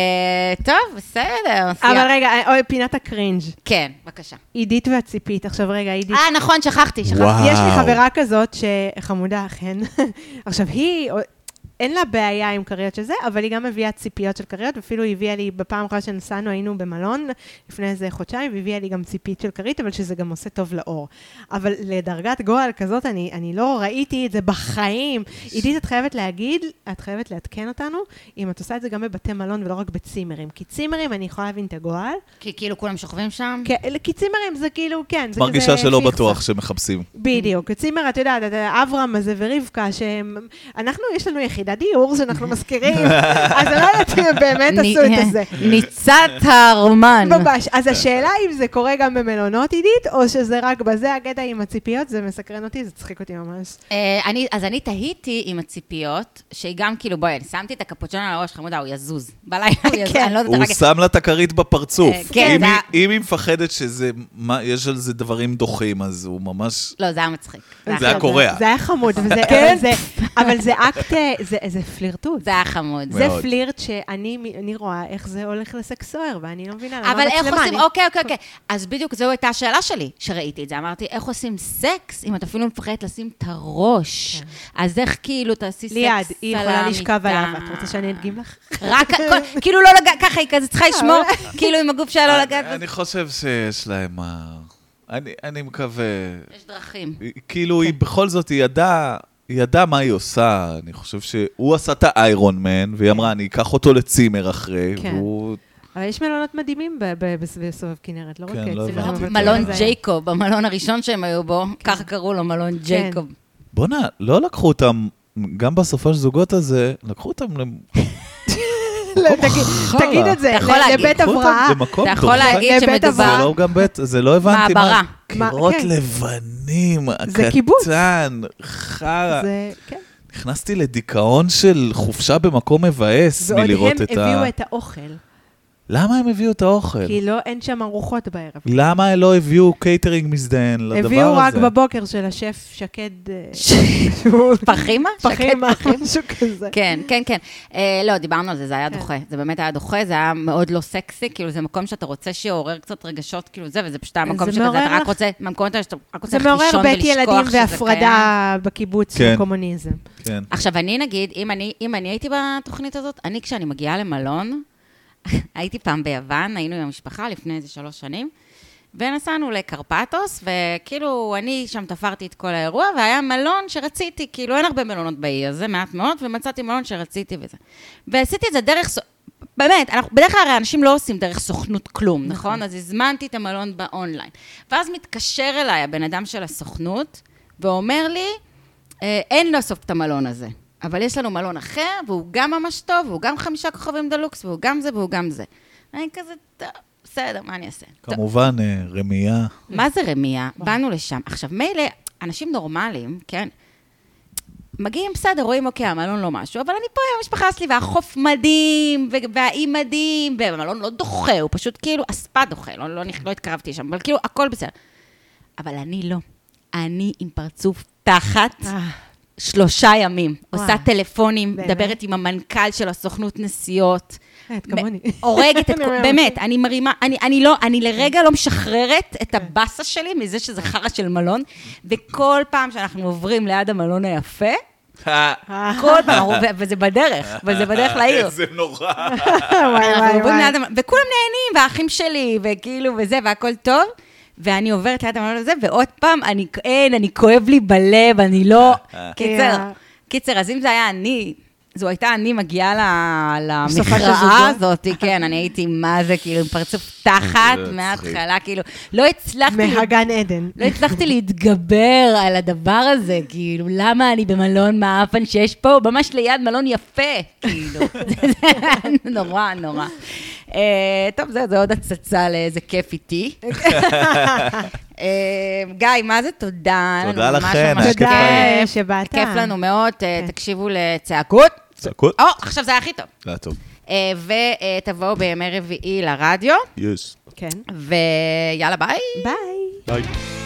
טוב, בסדר.
אבל
סיימת.
רגע, אה, אוי, פינת הקרינג'.
כן, בבקשה.
עידית והציפית, עכשיו רגע, עידית.
אה, נכון, שכחתי, שכחתי.
וואו.
יש לי חברה כזאת שחמודה, אכן. עכשיו, היא, אין לה בעיה עם כריות של זה, אבל היא גם מביאה ציפיות של כריות, ואפילו היא הביאה לי, בפעם האחרונה שנסענו, היינו במלון לפני איזה חודשיים, והיא הביאה לי גם ציפית של כרית, אבל שזה גם עושה טוב לאור. אבל לדרגת גועל כזאת, אני, אני לא ראיתי את זה בחיים. עידית, את חייבת להגיד, את חייבת לעדכן אותנו, אם את עושה את זה גם בבתי מלון ולא רק בצימרים. כי צימרים, אני יכולה להבין את הגועל.
כי כאילו כולם שוכבים שם?
כי- כי צימרים זה כאילו, כן, זה כזה...
מרגישה שלא
פיקציה.
בטוח שמחפשים.
Mm-hmm.
בדיוק. צימר, את יודעת, את אברהם הזה ורבקה, שהם... אנחנו, יש לנו יחידת דיור שאנחנו משכירים, אז אני לא יודעת אם הם באמת עשו את זה.
ניצת הארמן.
ממש. אז השאלה אם זה קורה גם במלונות, עידית, או שזה רק בזה, הקטע עם הציפיות, זה מסקרן אותי, זה צחיק אותי ממש.
אה, אני, אז אני תהיתי עם הציפיות, שהיא גם כאילו, בואי, שמתי את הקפוצ'ון על הראש, חמודה, הוא יזוז. בלילה הוא יזוז,
כן.
אני לא יודעת
הוא
רק...
שם לה את הכרית בפרצוף.
אה, כן,
אם
זה-
היא- אם היא מפחדת שזה, מה- יש על זה דברים דוחים, אז הוא ממש...
לא, זה היה מצחיק.
זה היה קורע.
זה היה חמוד, וזה...
כן.
אבל זה- אבל זה אקט, אה, זה- זה פלירטוט.
זה היה חמוד.
מאוד.
זה פלירט שאני מ- אני רואה איך זה הולך לסקס סוער, ואני לא מבינה למה
אבל
מצלמה.
איך עושים,
אני-
אוקיי, אוקיי, אוקיי. אז בדיוק זו הייתה השאלה שלי, שראיתי את זה. אמרתי, איך עושים סקס אם את אפילו מפחדת לשים את הראש? אז איך כאילו תעשי סקס
כן. ליעד, היא יכולה
סלאם
לשכב
איתה?
עליו, את רוצה שאני אדגים לך?
רק, כל- כאילו לא לגעת, ככה היא כזה צריכה לשמור, כאילו עם הגוף שלה לא לגעת.
אה, אני חושב שיש להם... אה, אני- אני מקווה...
יש דרכים.
היא- כאילו,
כן.
היא בכל זאת, היא ידעה, היא ידעה מה היא עושה. אני חושב שהוא עשה את האיירון מן, והיא אמרה, אני אקח אותו לצימר אחרי,
כן.
והוא...
אבל יש מלונות מדהימים ב- ב- בס- בסובב כנרת, לא רק
כן,
אצל
לא
זה,
הבנתי.
אבל-
מלון
זה- כן.
ג'ייקוב, המלון הראשון שהם היו בו, ככה קראו לו מלון ג'ייקוב.
בואנה, לא לקחו אותם, גם בסופו של זוגות הזה, לקחו אותם למ-
לא, תגיד-
חרא.
תגיד את זה,
אתה יכול
ל-
להגיד.
לבית
לקחו אותם
הבראה.
למקום
אתה יכול
דוחה.
להגיד
לבית
זה
הבראה.
שמדובר...
לא גם בית, זה לא הבנתי. מה-
מעברה.
קירות
מה- כן.
לבנים,
זה קיבוץ.
הקטן, חרא.
זה, כן.
נכנסתי לדיכאון של חופשה במקום מבאס
ועוד
מלראות
הם
את ה... כן.
הביאו את האוכל,
למה הם הביאו את האוכל?
כי לא, אין שם ארוחות בערב.
למה לא הביאו קייטרינג מזדיין לדבר לא, הזה?
הביאו רק בבוקר של השף שקד... אה,
פחימה?
פחימה, משהו כזה.
כן, כן, כן. אה, לא, דיברנו על זה, זה היה
כן.
דוחה. זה באמת היה דוחה, זה היה מאוד לא סקסי, כאילו זה מקום שאתה רוצה שיעורר קצת רגשות, כאילו זה, וזה פשוט היה
זה
מקום שכזה,
מעורר
אתה רק
לך-
רוצה, מהמקומות האלה שאתה רק רוצה
זה
ללכת
מעורר
לישון
בית ילדים
ולשכוח שזה קיים.
והפרדה בקיבוץ
כן.
של קומוניזם.
כן.
עכשיו, אני נגיד, אם אני, אם אני הייתי בתוכנית הזאת, אני כשאני מגיעה למלון, הייתי פעם ביוון, היינו עם המשפחה לפני איזה שלוש שנים, ונסענו לקרפטוס, וכאילו, אני שם תפרתי את כל האירוע, והיה מלון שרציתי, כאילו, אין הרבה מלונות באי הזה, מעט מאוד, ומצאתי מלון שרציתי וזה. ועשיתי את זה דרך... ס- באמת, אנחנו, בדרך כלל הרי אנשים לא עושים דרך סוכנות כלום, נכון? נכון? אז הזמנתי את המלון באונליין. ואז מתקשר אליי הבן אדם של הסוכנות, ואומר לי, אה, אין לו סוף את המלון הזה, אבל יש לנו מלון אחר, והוא גם ממש טוב, והוא גם חמישה כוכבים דלוקס, והוא גם זה והוא גם זה. אני כזה, טוב, בסדר, מה אני אעשה? טוב,
כמובן, אה, רמייה.
מה זה רמייה? באנו לשם. עכשיו, מילא, אנשים נורמליים, כן? מגיעים, בסדר, רואים, אוקיי, המלון לא משהו, אבל אני פה עם המשפחה שלי, והחוף מדהים, ו- והאי מדהים, והמלון לא דוחה, הוא פשוט כאילו, הספה דוחה, לא, לא, נכ- לא התקרבתי לשם, אבל כאילו, הכל בסדר. אבל אני לא. אני עם פרצוף תחת.
אה.
שלושה ימים,
וואו.
עושה טלפונים,
באמת?
מדברת עם המנכ"ל של הסוכנות נסיעות.
אה, את כמוני.
מ- הורגת את
אני
כל...
אומרת.
באמת, אני מרימה, אני, אני לא, אני לרגע לא משחררת את הבאסה שלי מזה שזה חרא של מלון, וכל פעם שאנחנו עוברים ליד המלון היפה,
אה,
כל פעם, ו- וזה בדרך, וזה בדרך לעיר.
אה, איזה נורא.
וואי,
אנחנו
וואי,
עוברים
וואי.
ליד המלון, וכולם נהנים, והאחים שלי, וכאילו, וזה, והכל טוב. ואני עוברת ליד המלון הזה, ועוד פעם, אני, אין, אני כואב לי בלב, אני לא... קיצר,
אה.
קיצר, אז אם זה היה אני, זו הייתה אני מגיעה ל-
סופת
למכרעה
הזוגות.
הזאת, כן, אני הייתי, מה זה, כאילו, עם פרצוף תחת,
זה
מההתחלה, כאילו, לא הצלחתי...
מהגן עדן.
לא הצלחתי להתגבר על הדבר הזה, כאילו, למה אני במלון מעפן שיש פה, הוא ממש ליד מלון יפה, כאילו. זה נורא, נורא. אה, טוב, זהו, זה עוד הצצה לאיזה כיף איתי. אה, גיא, מה זה תודה? היה לנו
תודה
ממש
לכן,
ממש
היה כיף
תודה
לנו.
אה, שבאת.
כיף לנו מאוד, אה,
כן.
תקשיבו לצעקות.
צעקות.
או, עכשיו זה היה הכי טוב.
זה היה טוב.
אה, ותבואו בימי רביעי לרדיו,
יס.
כן.
ויאללה ביי.
ביי.
ביי.